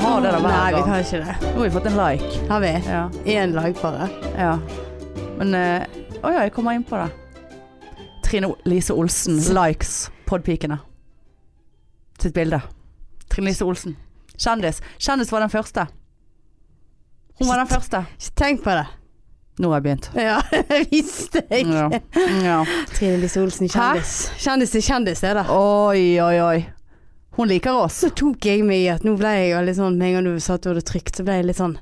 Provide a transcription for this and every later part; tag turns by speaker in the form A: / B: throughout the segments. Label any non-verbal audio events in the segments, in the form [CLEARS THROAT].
A: Nei, vi
B: gang.
A: kan ikke det.
B: Nå har vi fått en like.
A: Har vi
B: Ja.
A: én lagpare?
B: ja. Men eh, Å ja, jeg kommer inn på det. Trine O- Lise Olsen likes Podpikene. Sitt bilde. Trine Lise Olsen. Kjendis. Kjendis var den første. Hun var den første.
A: Ikke tenk på det.
B: Nå har jeg begynt.
A: Ja, [LAUGHS] jeg visste jeg.
B: Ja. Ja.
A: Trine Lise Olsen, kjendis. Kjendis til kjendis er det.
B: Oi, oi, oi. Hun liker oss.
A: Så tok jeg meg i at nå ble jeg jo litt sånn Med en gang du sa at du hadde trykt, så ble jeg litt sånn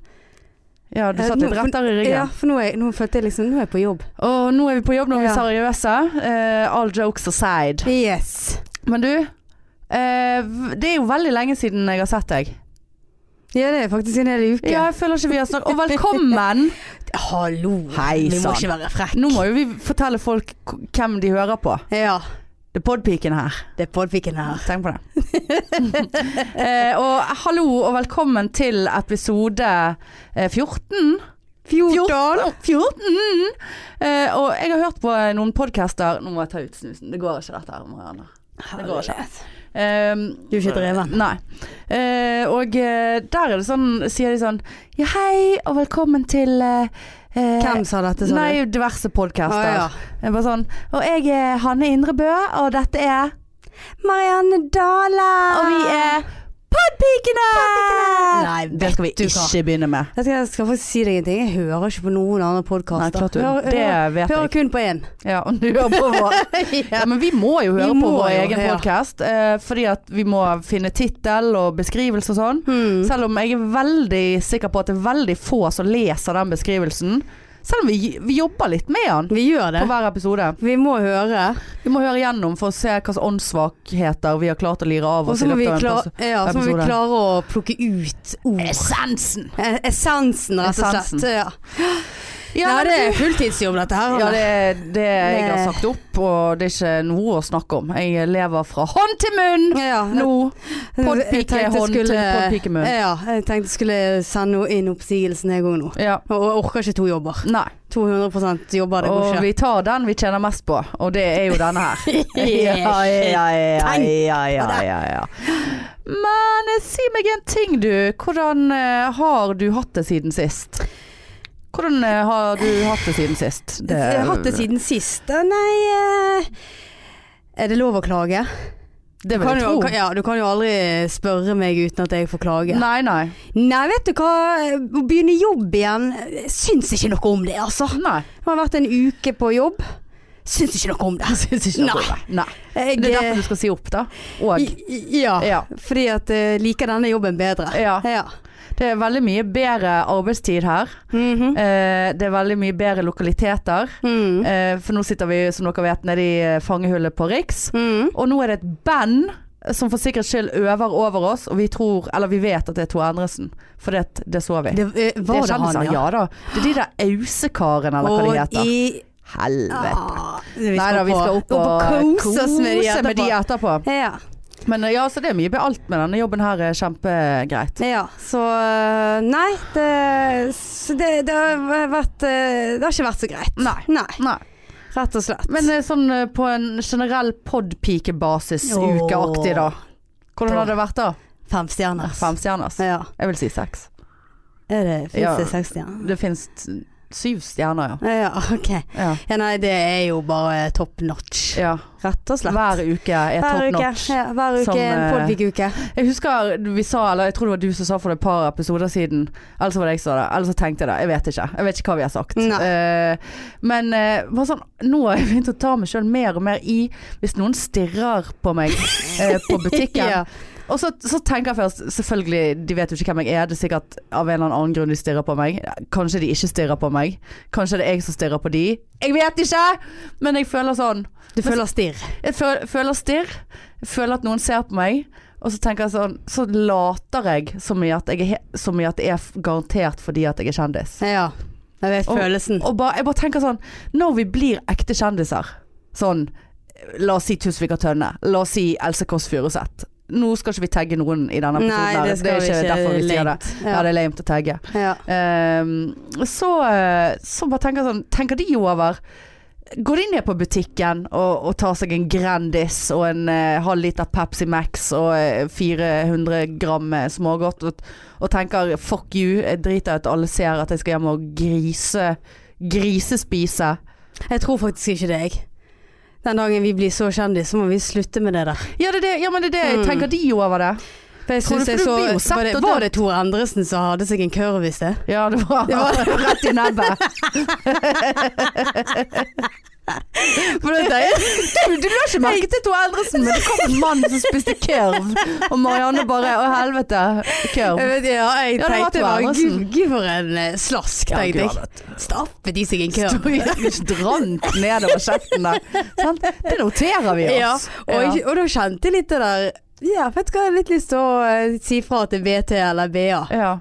B: Ja, du
A: Eh,
B: satt litt
A: nå-
B: rettere i
A: Ja,
B: ryggen.
A: for nå, er, nå følte jeg liksom Nå er jeg på jobb.
B: Og nå er vi på jobb, nå er vi
A: Ja.
B: seriøse. Eh, all jokes aside.
A: Yes.
B: Men du, eh, v- det er jo veldig lenge siden jeg har sett deg.
A: Ja, det er faktisk en hel uke.
B: Ja, jeg føler ikke vi har snakket Og velkommen!
A: Hallo.
B: Hei,
A: Vi må
B: sann.
A: ikke være frekk.
B: Nå må jo vi fortelle folk k- hvem de hører på.
A: Ja,
B: Det er podpiken her.
A: det er podpiken her.
B: Tenk på det. eh, og hallo og velkommen til episode eh, 14. 14. 14. Eh, og jeg har hørt på noen podcaster Nå må jeg ta ut snusen. Det går ikke dette her, Marianne. Det går ikke. Ehm,
A: Du er ikke dreven.
B: Nei. Eh, og eh, der er det sånn, sier de sånn Ja, hei og velkommen til eh, eh,
A: Hvem sa dette, sa
B: Nei, diverse
A: Å,
B: podcaster.
A: ja.
B: Det er Bare sånn Og jeg er Hanne Indrebø, og dette er
A: Marianne Dale.
B: Og vi er Podpikene!
A: Ah. Nei,
B: det skal vi
A: vet du hva.
B: ikke begynne med.
A: Vet du hva, Jeg skal faktisk si deg en ting. Jeg hører ikke på noen andre podkaster.
B: Nei, klart du. Det vet
A: hører
B: jeg.
A: kun på én.
B: Ja, og du hører på
A: [LAUGHS]
B: vår. Ja, men vi må jo høre på
A: må
B: vår
A: jo,
B: egen
A: ja.
B: podcast, eh, fordi at vi må finne tittel og beskrivelse og sånn.
A: Hmm.
B: Selv om jeg er veldig sikker på at det er veldig få som leser den beskrivelsen. Selv om vi, vi jobber litt med den
A: Vi gjør det.
B: på hver episode.
A: Vi må høre.
B: Vi må høre gjennom for å se hvilke åndssvakheter vi har klart å lire av
A: Og
B: oss.
A: så
B: i
A: må vi,
B: løpet av en
A: klar,
B: pers-
A: ja, så må vi
B: episode.
A: klare å plukke ut ord.
B: Essensen!
A: Eh, Essensen, rett og slett.
B: Essensen.
A: Ja,
B: Ja,
A: ja
B: men
A: det er
B: du-
A: fulltidsjobb, dette her.
B: ja,
A: Anne.
B: det, er- det er jeg har
A: Det-
B: sagt opp, og det er ikke noe å snakke om. Jeg lever fra hånd til munn
A: Ja,
B: nå.
A: Jeg tenkte jeg
B: Podpikehånd til
A: skulle-
B: podpikemunn.
A: Ja, jeg tenkte jeg skulle sende inn oppsigelsen jeg òg nå.
B: Ja.
A: Og jeg orker ikke to jobber.
B: Nei.
A: 200 jobber, det går
B: Og
A: ikke.
B: vi tar den vi tjener mest på, og det er jo denne
A: [LAUGHS]
B: her.
A: Ja,
B: ja, ja,
A: Tenk
B: ja,
A: på det.
B: Men eh, si meg en ting, du. Hvordan eh, har du hatt det siden sist? Hvordan eh, har du hatt det siden sist? Det-
A: Jeg har hatt det siden sist. Eh, Nei eh, Er det lov å klage?
B: Det
A: Kan
B: vil jeg
A: jo,
B: tro.
A: kan, ja, du kan jo aldri spørre meg uten at jeg får klage. Nei,
B: Nei, nei.
A: vet du hva. Å begynne jobb igjen, jeg syns ikke noe om det, altså.
B: nei.
A: Jeg har vært en uke på jobb. Syns ikke noe om
B: [LAUGHS]
A: det. Syns ikke
B: Nei. nei.
A: Jeg, eh,
B: Det er derfor du skal si opp, da. Og
A: Ja,
B: Ja.
A: fordi at jeg liker denne jobben bedre.
B: Ja.
A: ja.
B: det er veldig mye bedre arbeidstid her.
A: Mhm.
B: Eh, Det er veldig mye bedre lokaliteter.
A: Mhm.
B: Eh, For nå sitter vi, som dere vet, nede i eh, fangehullet på Riks.
A: Mhm.
B: Og nå er det et band som for sikkerhets skyld øver over oss, og vi tror, eller vi vet at det er Tor Endresen. For det, det så vi.
A: Det, eh, var det,
B: er
A: han,
B: kjendiser,
A: ja?
B: da. Det er de der Ausekarene, eller hva de heter.
A: i
B: Helvete.
A: ah,
B: Nei da, vi skal opp og,
A: kose oss med de
B: kose
A: etterpå.
B: med de etterpå.
A: Ja.
B: Men eh, ja, så det er mye be- alt med denne jobben her er kjempegreit.
A: ja. Så eh, nei, det, så det, det har vært eh, Det har ikke vært så greit.
B: Nei.
A: Nei,
B: Nei.
A: rett og slett.
B: Men eh, sånn eh, på en generell podpikebasis,
A: Åh.
B: ukeaktig da. Hvordan har det vært da?
A: fem stjerner.
B: eh, Fem stjerners.
A: Ja.
B: Jeg vil si seks.
A: Er det, fins
B: Ja.
A: det seks stjerner?
B: Det finnes t- syv stjerner,
A: Ja, ok.
B: ja. ja.
A: Ja, nei, det er jo bare top notch.
B: ja.
A: Rett og slett.
B: Hver uke er
A: Hver
B: top
A: uke.
B: notch.
A: Ja, hver uke
B: Som,
A: en
B: eh,
A: podpikeuke.
B: Jeg husker vi sa, eller jeg tror det var du som sa for et par episoder siden, eller så var det jeg som sa det, eller så tenkte jeg det, jeg vet ikke. Jeg vet ikke hva vi har sagt.
A: Nei.
B: Eh, men eh, bare sånn, nå har jeg begynt å ta meg sjøl mer og mer i hvis noen stirrer på meg eh, på butikken.
A: [LAUGHS] Ja.
B: Og så, så tenker jeg først, selvfølgelig, de vet jo ikke hvem jeg er, det er sikkert av en eller annen grunn de stirrer på meg. Kanskje de ikke stirrer på meg. Kanskje det er jeg som stirrer på de. Jeg vet ikke! Men jeg føler sånn
A: Du føler stirr.
B: jeg føler, føler stirr. Jeg føler at noen ser på meg. Og så tenker jeg sånn Så later jeg som i at, jeg er, he- som i at det er f- garantert fordi at jeg er kjendis.
A: Ja. Jeg vet
B: Og-
A: følelsen.
B: Og bare, jeg bare tenker sånn Når vi blir ekte kjendiser Sånn La oss si Tusvik og Tønne. La oss si Else Kåss Furuseth. Nå skal ikke vi tagge noen i denne episoden. her. det er ikke derfor vi sier det.
A: late.
B: Ja,
A: Ja.
B: det er lame å tagge.
A: Ja.
B: Ehm, så, eh, så bare tenker jeg sånn Tenker de over Går de ned på butikken og, og tar seg en Grandis og en eh, halv liter Pepsi Max og eh, 400 gram eh, smågodt og, og tenker 'fuck you', jeg driter i at alle ser at jeg skal hjem og grise, grisespise.
A: Jeg tror faktisk ikke det, jeg. Den dagen vi blir så kjendis, så må vi slutte med det der.
B: Ja, det er det, ja men det er det.
A: Mm.
B: Tenker de over det?
A: For jeg
B: Tror du-
A: synes jeg
B: for du
A: så,
B: blir jo sett,
A: var, det,
B: og
A: var
B: det-
A: det Tor Endresen som hadde seg en kurv i sted?
B: Ja, det var,
A: Det var-
B: [LAUGHS] rett i
A: [LAUGHS]
B: nebbet. For det, du, du la ikke merke til Tor Eldresen, men det kom en mann som spiste kurv. Og Marianne bare Å, helvete. Kurv.
A: Jeg vet, ja,
B: Ja,
A: jeg
B: det var
A: tenkte
B: Tor
A: bare
B: Endresen.
A: gud, gud for en eh, slask,
B: Ja,
A: tenkte
B: gud,
A: jeg. Stappet de seg en
B: Du
A: kurv?
B: [LAUGHS] drant nedover kjeften der. Sant? Det noterer vi
A: Ja,
B: oss.
A: og, jeg- og da kjente jeg litt det der Ja, vet du hva, jeg har litt lyst til å eh, si fra til BT eller BA.
B: Ja. Ja.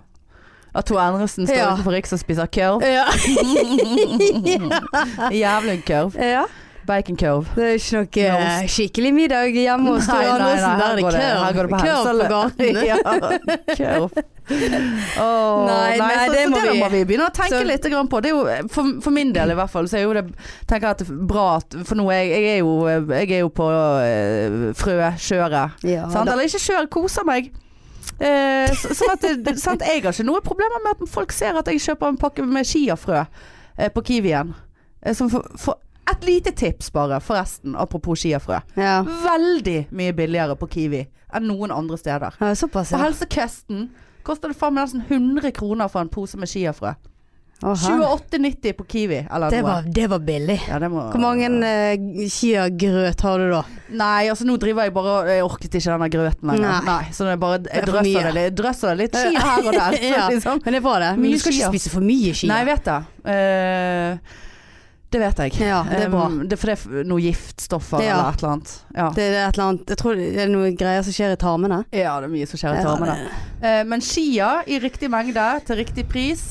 B: At Tor Endresen står
A: Ja.
B: utenfor Riks og spiser kurv. [LAUGHS]
A: Ja. [LAUGHS]
B: Jævlig kurv.
A: ja.
B: Baconkurv.
A: Det er ikke noe eh, skikkelig middag hjemme hos Tor
B: Nei, nei, nei,
A: Andersen.
B: her
A: Der er
B: går det- her går
A: det
B: det på
A: kurv kurv
B: helseallergi.
A: på [LAUGHS] gaten.
B: [LAUGHS] ja, kurv. Åh,
A: Nei, nei,
B: så,
A: det
B: så
A: må
B: det
A: vi-
B: må vi begynne å tenke
A: så-
B: litt grann på. Det er jo, for, for min del i hvert fall, så er jo det tenker jeg at det er bra at For nå er jeg, jeg er jo, jeg er jo på eh, frøkjøret.
A: Ja,
B: sant?
A: da.
B: Eller ikke kjør, koser meg. Eh, så- sånn at det, [LAUGHS] sant? Jeg har ikke noe problemer med at folk ser at jeg kjøper en pakke med chiafrø eh, på Kiwien. Eh, som for, for et lite tips bare, forresten, apropos chiafrø
A: Ja.
B: veldig mye billigere på Kiwi enn noen andre steder.
A: Ja, såpass,
B: På
A: ja.
B: Helsekesten koster det faen meg nesten 100 kroner for en pose med chiafrø.
A: Å, her.
B: 28,90 på Kiwi eller
A: Det
B: noe.
A: var, det var billig.
B: Ja, det må...
A: Hvor mange uh, skier grøt har du da?
B: Nei, altså nå driver jeg bare Jeg orket ikke denne grøten lenger. Nei.
A: Nei.
B: så det er bare, jeg
A: er for
B: drøsser
A: mye.
B: det, litt- jeg drøsser det litt
A: [LAUGHS]
B: chia her og der.
A: Ja.
B: liksom.
A: Men det er bra det. Men
B: Mye
A: du skal
B: skier.
A: ikke spise for mye skier.
B: Nei, jeg vet det. Eh, det vet jeg.
A: Ja, det er bra.
B: Um, det er fordi det er noe giftstoffer
A: Ja.
B: eller et eller annet. Ja.
A: det er et eller annet Jeg tror det er noen greier som skjer i tarmene.
B: ja, det er mye som skjer i tarmene.
A: Ja, det-
B: Eh, Men skia i riktig mengde til riktig pris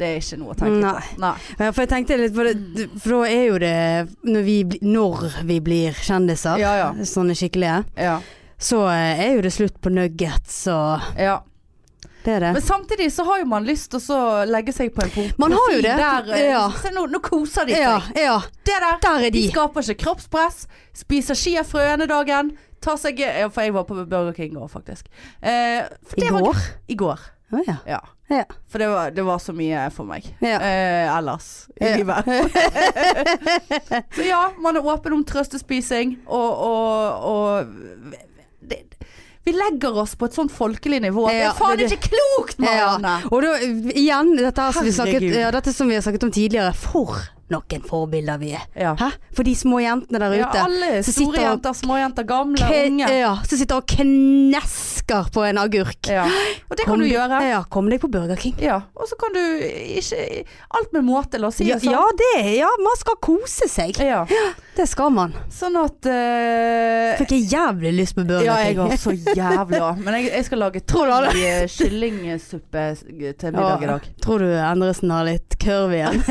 B: Det er ikke noe å tenke
A: Nei.
B: på. Nei.
A: Ja, for jeg tenkte litt på det, for da er jo det Når vi, bli- når vi blir kjendiser,
B: Ja, ja.
A: sånne skikkelige,
B: Ja.
A: så eh, er jo det slutt på nuggets og
B: ja.
A: Det er det.
B: Men samtidig så har jo man lyst til å så legge seg på en po-
A: Man har jo
B: profil
A: det.
B: Der, eh,
A: Ja.
B: Se nå, nå koser de seg.
A: Ja, ja.
B: Det der.
A: Der
B: De
A: er de.
B: skaper ikke kroppspress. Spiser skiafrø ene dagen. Tar seg eh, ja, For jeg var på Burger King i går, faktisk. Eh, for
A: I
B: det var-
A: går?
B: I går.
A: Å ja.
B: Ja.
A: Ja.
B: For det var, det var så mye for meg.
A: Ja.
B: Eh, ellers i
A: Ja. [LAUGHS]
B: livet. så ja, man er åpen om trøstespising og, og, og det, Vi legger oss på et sånt folkelig nivå. det
A: Ja,
B: er faen
A: det- det-
B: ikke klokt, Marianne!
A: Ja. Og da, igjen, dette, her som vi snakket,
B: Herregud.
A: ja, dette som vi har snakket om tidligere. For noen forbilder vi er.
B: Ja.
A: Hæ? For de små jentene der
B: Ja,
A: ute.
B: alle
A: Så
B: store
A: sitter- eh,
B: jenter, små jenter, gamle,
A: Ke-
B: unge.
A: Ja, som sitter og knesker på en agurk.
B: Ja. Og det kan
A: Kom eh.
B: du
A: deg-
B: gjøre.
A: Ja, kom deg på Burger King.
B: Ja. Og så kan du ikke Alt med måte, la oss si
A: Ja,
B: det
A: ja,
B: sånn.
A: det er ja, man skal kose seg.
B: Ja.
A: Det skal man.
B: Sånn at eh,
A: Fikk jeg jævlig lyst på Burger
B: Ja, jeg
A: King. [LAUGHS]
B: har så jævlig òg. Men jeg, jeg skal lage tre kyllingsuppe til middag i dag.
A: Tror du Endresen har litt kurv igjen?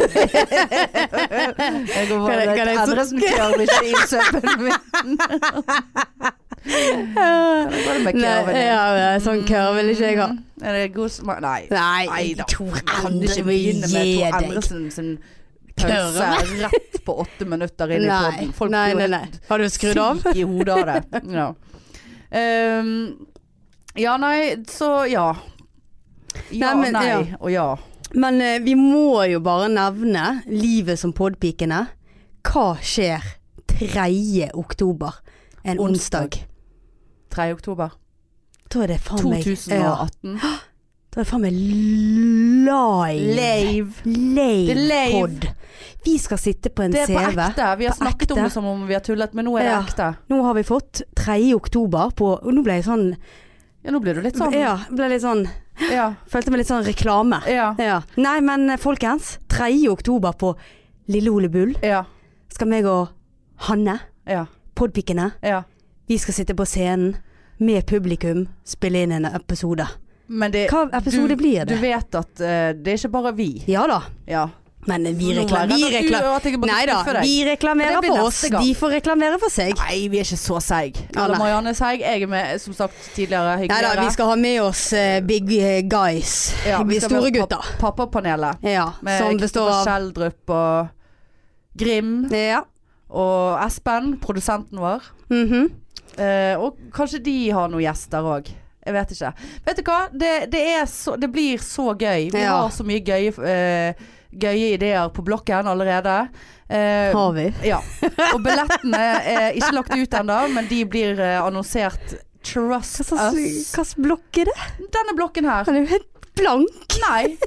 B: Jeg går
A: Kan jeg- kan jeg så- [LAUGHS]
B: kjører ikke i suppen min. Kan jeg gå med
A: Nei,
B: kurven i?
A: ja, ja, sånn kurv vil ikke jeg ha.
B: Mm. Er det god smak Nei.
A: Nei,
B: Neida.
A: Tor
B: Kan ikke
A: Endresen
B: begynne
A: vil
B: med
A: gi
B: Tor
A: deg.
B: Endresen sin pause rett på åtte minutter inn i
A: Nei,
B: podden. Folk
A: nei,
B: blir jo
A: nei,
B: helt
A: nei. Har du skrudd av?
B: Syk i hodet av
A: [LAUGHS]
B: det. Ja. Ehm, ja, nei, så ja. Ja,
A: Nei, men,
B: nei
A: ja.
B: og ja.
A: Men eh, vi må jo bare nevne livet som podpikene. Hva skjer 3. oktober? En
B: Onsdag.
A: onsdag.
B: 3. oktober
A: Da er det faen meg
B: 2018.
A: Da er det faen meg live.
B: Lave. Det
A: Live,
B: er live.
A: pod. Vi skal sitte på en
B: Det er på
A: CV.
B: ekte. Vi har
A: På
B: snakket om
A: ekte.
B: det som om vi har tullet, men nå er det
A: Ja.
B: ekte.
A: Nå har vi fått 3. oktober på og Nå ble jeg sånn,
B: Ja, nå blir du litt sånn.
A: Ja, ble litt sånn
B: Ja.
A: Følte meg litt sånn reklame.
B: Ja.
A: Ja. Nei, men eh, folkens. 3. oktober på Lille Ole Bull
B: Ja.
A: skal meg og Hanne,
B: ja.
A: podpikene,
B: ja.
A: Vi skal sitte på scenen med publikum, spille inn en episode.
B: Men det
A: Hva episode blir
B: Mm. Du
A: det?
B: vet at eh, det er ikke bare vi.
A: Ja da,
B: Ja.
A: men vi,
B: Nå
A: rekla
B: er
A: vi,
B: det-
A: rekla
B: Du, at jeg bare
A: Nei da,
B: skuffer deg.
A: vi reklamerer
B: For det blir
A: for oss.
B: neste gang.
A: De får reklamere for seg.
B: Nei, vi er ikke så seig.
A: Ja,
B: Eller
A: nei.
B: Marianne er seig. Jeg er med, som sagt tidligere,
A: Nei da,
B: hyggeligere.
A: vi skal ha med oss eh, big eh, guys.
B: Ja,
A: de
B: vi skal
A: store
B: med
A: gutta.
B: Pappapanelet.
A: Ja,
B: Med
A: som består av
B: Skjeldrup og Grim
A: Ja.
B: og Espen, produsenten vår.
A: Mhm.
B: Eh, og kanskje de har noen gjester òg. Jeg vet ikke. Vet du hva? Det, det, er så, det blir så gøy. Vi
A: Ja.
B: har så mye gøye, eh, gøye ideer på blokken allerede. Eh,
A: Har vi.
B: ja. Og billettene er ikke lagt ut ennå, men de blir eh, annonsert. Trust us.
A: Hvilken blokk er det?
B: Denne blokken her.
A: Han er jo helt blank.
B: Nei.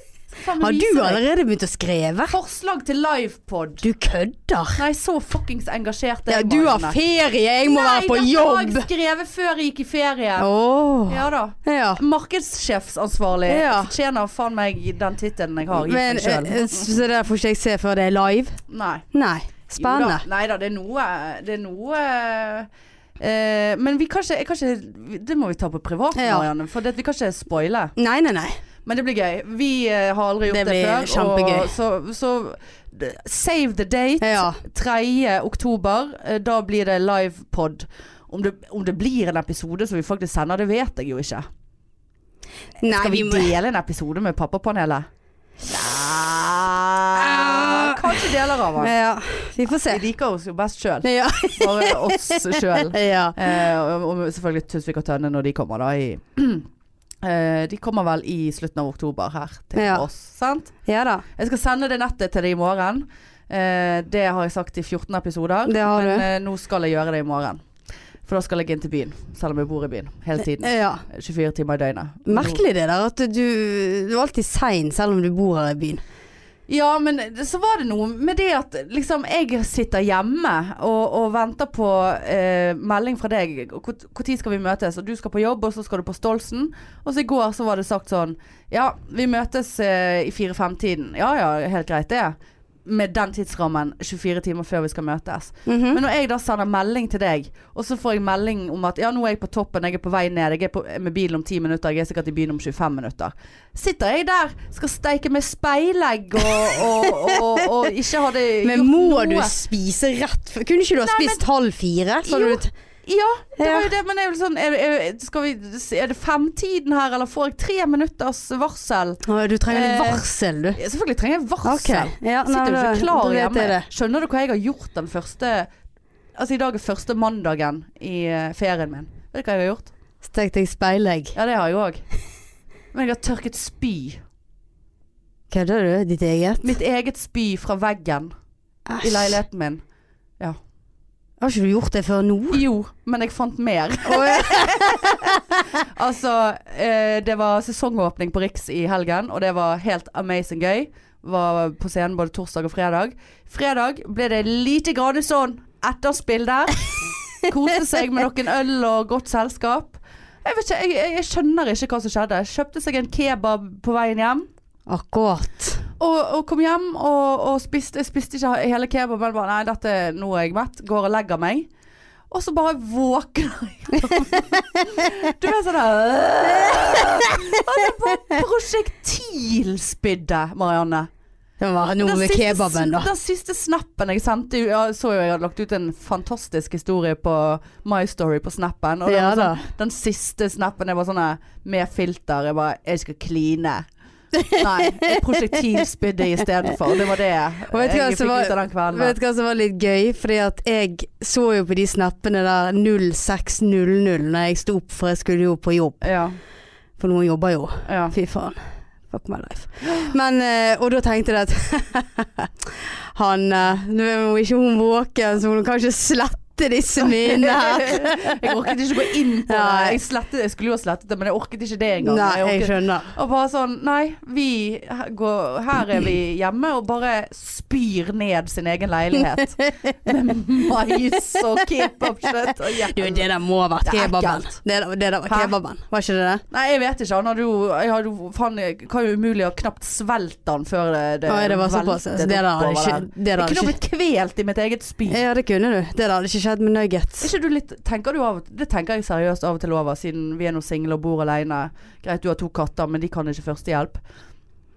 B: Faen, vi
A: Har du
B: viser deg.
A: allerede begynt å skrive?
B: Forslag til livepod.
A: Du kødder.
B: Nei, så fuckings engasjert er
A: Ja,
B: jeg,
A: du har
B: Marianne.
A: ferie, jeg må være på
B: Nei,
A: jobb.
B: dette har jeg skrevet før jeg gikk i ferie.
A: Åh.
B: Ja da.
A: Ja.
B: Markedssjefsansvarlig
A: Ja.
B: fortjener faen meg den tittelen jeg har gitt
A: Men,
B: meg sjøl.
A: eh, så det får ikke jeg se før det er live?
B: Nei.
A: Nei. Spennende.
B: Nei da, det er noe Det er noe eh, men vi kan ikke, jeg kan ikke Det må vi ta på privat,
A: Ja.
B: Marianne. For det, vi kan ikke spoile.
A: Nei, nei, nei.
B: Men det blir gøy. Vi eh, har aldri
A: Det
B: gjort det,
A: blir
B: før.
A: kjempegøy.
B: Og, så, så d- save the date.
A: Ja.
B: 3. oktober. eh, Da blir det livepod. Om det, om det blir en episode som vi faktisk sender, det vet jeg jo ikke.
A: nei
B: Skal vi
A: må-
B: dele en episode med pappapanelet? Nei Kanskje deler av den.
A: Ja, vi får
B: Vi
A: se.
B: liker oss jo best sjøl.
A: Ja.
B: Bare oss sjøl.
A: [LAUGHS] ja.
B: [LAUGHS] Eh, og- og selvfølgelig Tusvik og Tønne når de kommer, da. I, [CLEARS THROAT] eh, de kommer vel i slutten av oktober her til
A: Ja.
B: oss. Sant?
A: ja da.
B: Jeg skal sende det nettet til deg i morgen. Eh, det har jeg sagt i 14 episoder.
A: Det har
B: Men
A: du.
B: eh, nå skal jeg gjøre det i morgen. For da skal jeg inn til byen. Selv om jeg bor i byen hele tiden.
A: Ja.
B: 24 timer i døgnet.
A: Merkelig det der at du, du er alltid sein selv om du bor her i byen.
B: Ja, men det- så var det noe med det at liksom jeg sitter hjemme og, og venter på eh, melding fra deg. Når skal vi møtes? Og du skal på jobb, og så skal du på Stolsen. Og så i går så var det sagt sånn Ja, vi møtes eh, i fire-fem-tiden. Ja ja, helt greit det. Med den tidsrammen 24 timer før vi skal møtes.
A: Mhm.
B: Men når jeg da sender melding til deg, og så får jeg melding om at ja, nå er jeg på toppen, jeg er på vei ned, jeg er på, med bilen om 10 minutter, jeg er sikkert i byen om 25 minutter. Sitter jeg der, skal steike med speilegg og, og, og, og ikke hadde
A: [LAUGHS] Men må du spise rett før Kunne ikke du ha spist halv fire? Så hadde
B: Jo.
A: du t-
B: Ja, det var
A: Ja.
B: jo det, men det er jo sånn er, er, skal vi, er det femtiden her, eller får jeg tre minutters varsel?
A: Å, du trenger litt
B: Eh,
A: varsel, du.
B: Ja, Selvfølgelig trenger jeg varsel.
A: Ok. Ja, nei,
B: Sitter jo
A: da-
B: ikke klar
A: da vet jeg
B: hjemme.
A: det.
B: Skjønner du hva jeg har gjort den første Altså i dag er første mandagen i eh, ferien min. Vet du hva jeg har gjort?
A: Stek deg speilegg.
B: Ja, det har jeg òg. Men jeg har tørket spy.
A: Kødder du? Ditt eget?
B: Mitt eget spy fra veggen i
A: Æsj.
B: leiligheten min.
A: Har ikke du gjort det før nå?
B: Jo, men jeg fant mer.
A: Å, ja.
B: [LAUGHS] Altså, eh, det var sesongåpning på Riks i helgen, og det var helt amazing gøy. Var på scenen både torsdag og fredag. Fredag ble det lite grann sånn etterspill der. Koste seg med noen øl og godt selskap. Jeg, vet ikke, jeg, jeg- jeg skjønner ikke hva som skjedde. Kjøpte seg en kebab på veien hjem.
A: Akkurat.
B: Og, og kom hjem og, og spiste, jeg spiste ikke hele kebaben. Bare, nei, dette er nå er jeg mett. Går og legger meg. Og så bare våkner jeg [LAUGHS] opp. Du vet sånn der [LAUGHS] Og det var prosjektilspydde, Marianne.
A: Det var noe med kebaben, da.
B: den siste snappen jeg sendte jo- Jeg så jo jeg hadde lagt ut en fantastisk historie på My Story på snappen. Og det
A: Ja
B: var
A: da.
B: sånn, den siste snappen jeg var sånn eh, med filter. Jeg bare Jeg skal kline. Nei. Et prosjektilspydde istedenfor. Det var det
A: Og vet du hva
B: jeg
A: som
B: fikk
A: var-
B: ut av den kvelden.
A: Vet du hva som var litt gøy? Fordi at jeg så jo på de snappene der 0600 når jeg sto opp, for jeg skulle jo på jobb.
B: ja,
A: For noen jobber jo.
B: ja.
A: Fy faen. Fuck my life. Men, eh, og da tenkte jeg at [LAUGHS] han eh, Nå er jo ikke hun våken, så hun kan ikke slette
B: [LAUGHS]
A: disse minnene her.
B: Jeg orket ikke gå inn på det.
A: Nei.
B: Jeg, slettet, jeg skulle jo ha slettet det, men jeg orket ikke det engang.
A: Nei,
B: Jeg
A: jeg
B: orket,
A: skjønner.
B: og bare sånn Nei, vi her går, her er vi hjemme og bare spyr ned sin egen leilighet. Med mais og kebabkjøtt og
A: [LAUGHS] Du,
B: jævlig.
A: det der må ha vært
B: Det er
A: kebaben.
B: ekkelt.
A: Det, der- det der var
B: Hæ?
A: kebaben, var ikke det det?
B: Nei, jeg vet ikke. Han hadde jo Jeg hadde jo faen jeg kan jo umulig ha knapt svelget han før det, det,
A: Å, ja, det var såpass. Så Det der hadde
B: oppover
A: ikke
B: der.
A: det der
B: Jeg
A: hadde
B: kunne
A: ikke- Eh,
B: blitt kvelt i mitt eget spy.
A: Ja, det kunne du. Det der hadde ikke skjedd med nuggets.
B: Er Ikke du litt, tenker du av, det tenker jeg seriøst av og til over, siden vi er nå single og bor alene. Greit, du har to katter, men de kan ikke førstehjelp.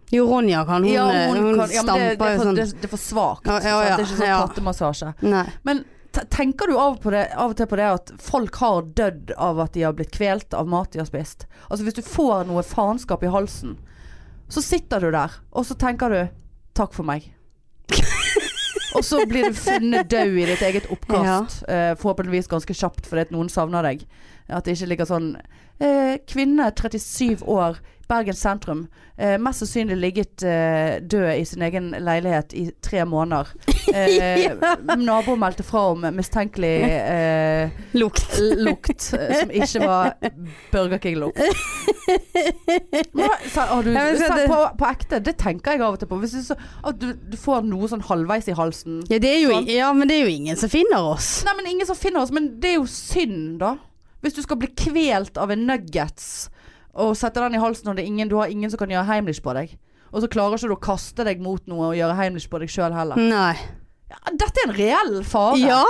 A: Jo, Ronja kan. Hun, eh, hun,
B: kan- ja, men det, det,
A: stamper
B: er
A: jo
B: for,
A: sånn.
B: det, det er for svakt.
A: Ja, ja,
B: sant?
A: ja,
B: Det er ikke sånn
A: ja.
B: kattemassasje.
A: Nei.
B: Men te- tenker du av, på det, av og til på det at folk har dødd av at de har blitt kvelt av mat de har spist? Altså hvis du får noe faenskap i halsen,
A: [LAUGHS]
B: så sitter du der, og så tenker du 'takk for meg'. Og så blir du funnet død i ditt eget oppkast. Eh, forhåpentligvis ganske kjapt fordi at noen savner deg. At det ikke ligger sånn eh, Kvinne 37 år, Bergen sentrum. Eh, mest sannsynlig ligget eh, død i sin egen leilighet i tre måneder. Eh, Naboen meldte fra om mistenkelig eh,
A: Lukt.
B: lukt eh, som ikke var Burger King-lukt. Men sa- Har du
A: Ja, men så
B: sa-
A: det-
B: på, på ekte? Det tenker jeg av og til på. Hvis du, så, at du, du får noe sånn halvveis i halsen.
A: Ja, det er jo,
B: Sånn.
A: ja, men det er jo ingen som finner oss.
B: Nei, men ingen som finner oss. Men det er jo synd, da. Hvis du skal bli kvelt av en nuggets og sette den i halsen, og det er ingen, du har ingen som kan gjøre heimlich på deg. Og så klarer ikke du å kaste deg mot noe og gjøre heimlich på deg sjøl heller.
A: Nei.
B: Ja, dette er en reell fare.
A: Mm. Ja,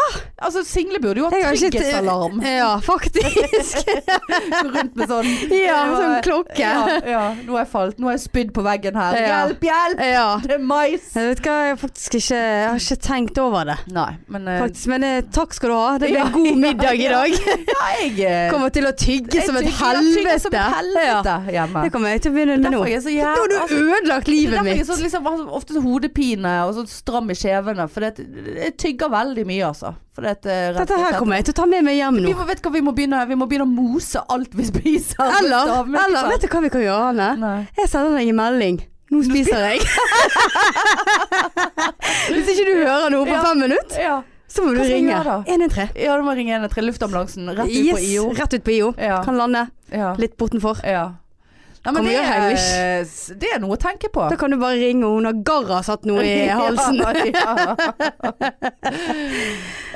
B: Altså, Single burde jo ha
A: jeg har ikke
B: trygghetsalarm.
A: [LAUGHS] Ja, faktisk.
B: Gå rundt med sånn
A: [LAUGHS] Ja, sånn klokke.
B: Ja, ja, nå har jeg falt. Nå har jeg spydd på veggen her.
A: Ja.
B: Hjelp, hjelp!
A: Ja.
B: Det er mais!
A: Jeg vet hva, jeg har faktisk ikke, jeg har ikke tenkt over det.
B: Nei, men eh,
A: Faktisk, men eh, takk skal du ha. Det ble
B: Ja,
A: en [LAUGHS] god middag i
B: ja,
A: dag. [LAUGHS]
B: ja, jeg eh,
A: Kommer til å tygge
B: jeg
A: som et
B: tygger- tygger Som
A: helvete.
B: et
A: Ja.
B: helvete hjemme.
A: Det kommer jeg til å begynne med nå.
B: Derfor
A: altså,
B: er jeg så jævla
A: Nå har du ødelagt livet
B: Derfor er jeg
A: mitt.
B: så, liksom, har ofte så hodepine og sånn stram i kjevene. For det, jeg tygger veldig mye, altså. For det, eh, rett og
A: Dette her
B: slett-
A: kommer jeg til å ta med meg hjem
B: vi
A: nå.
B: må, vet du hva, vi må, begynne, vi må begynne å mose alt vi spiser.
A: Eller,
B: Stavmikser.
A: eller vet du hva vi kan gjøre, Anne?
B: Nei.
A: Jeg sender deg en melding. Nå spiser [LAUGHS] jeg. Hvis ikke du hører noe på
B: Ja.
A: fem minutter,
B: Ja.
A: så må du
B: Hva skal jeg
A: ringe.
B: gjøre da?
A: 113.
B: ja, du må ringe 113 Luftambulansen. Rett ut på
A: Yes,
B: IO.
A: rett ut på IO.
B: Ja.
A: Kan lande
B: Ja.
A: litt bortenfor.
B: Ja. Nei, men
A: Kan vi
B: det,
A: gjøre
B: er, det er noe å tenke på.
A: Da kan du bare ringe, og hun har garra satt noe i halsen.
B: [LAUGHS] Ja, ja.
A: [LAUGHS]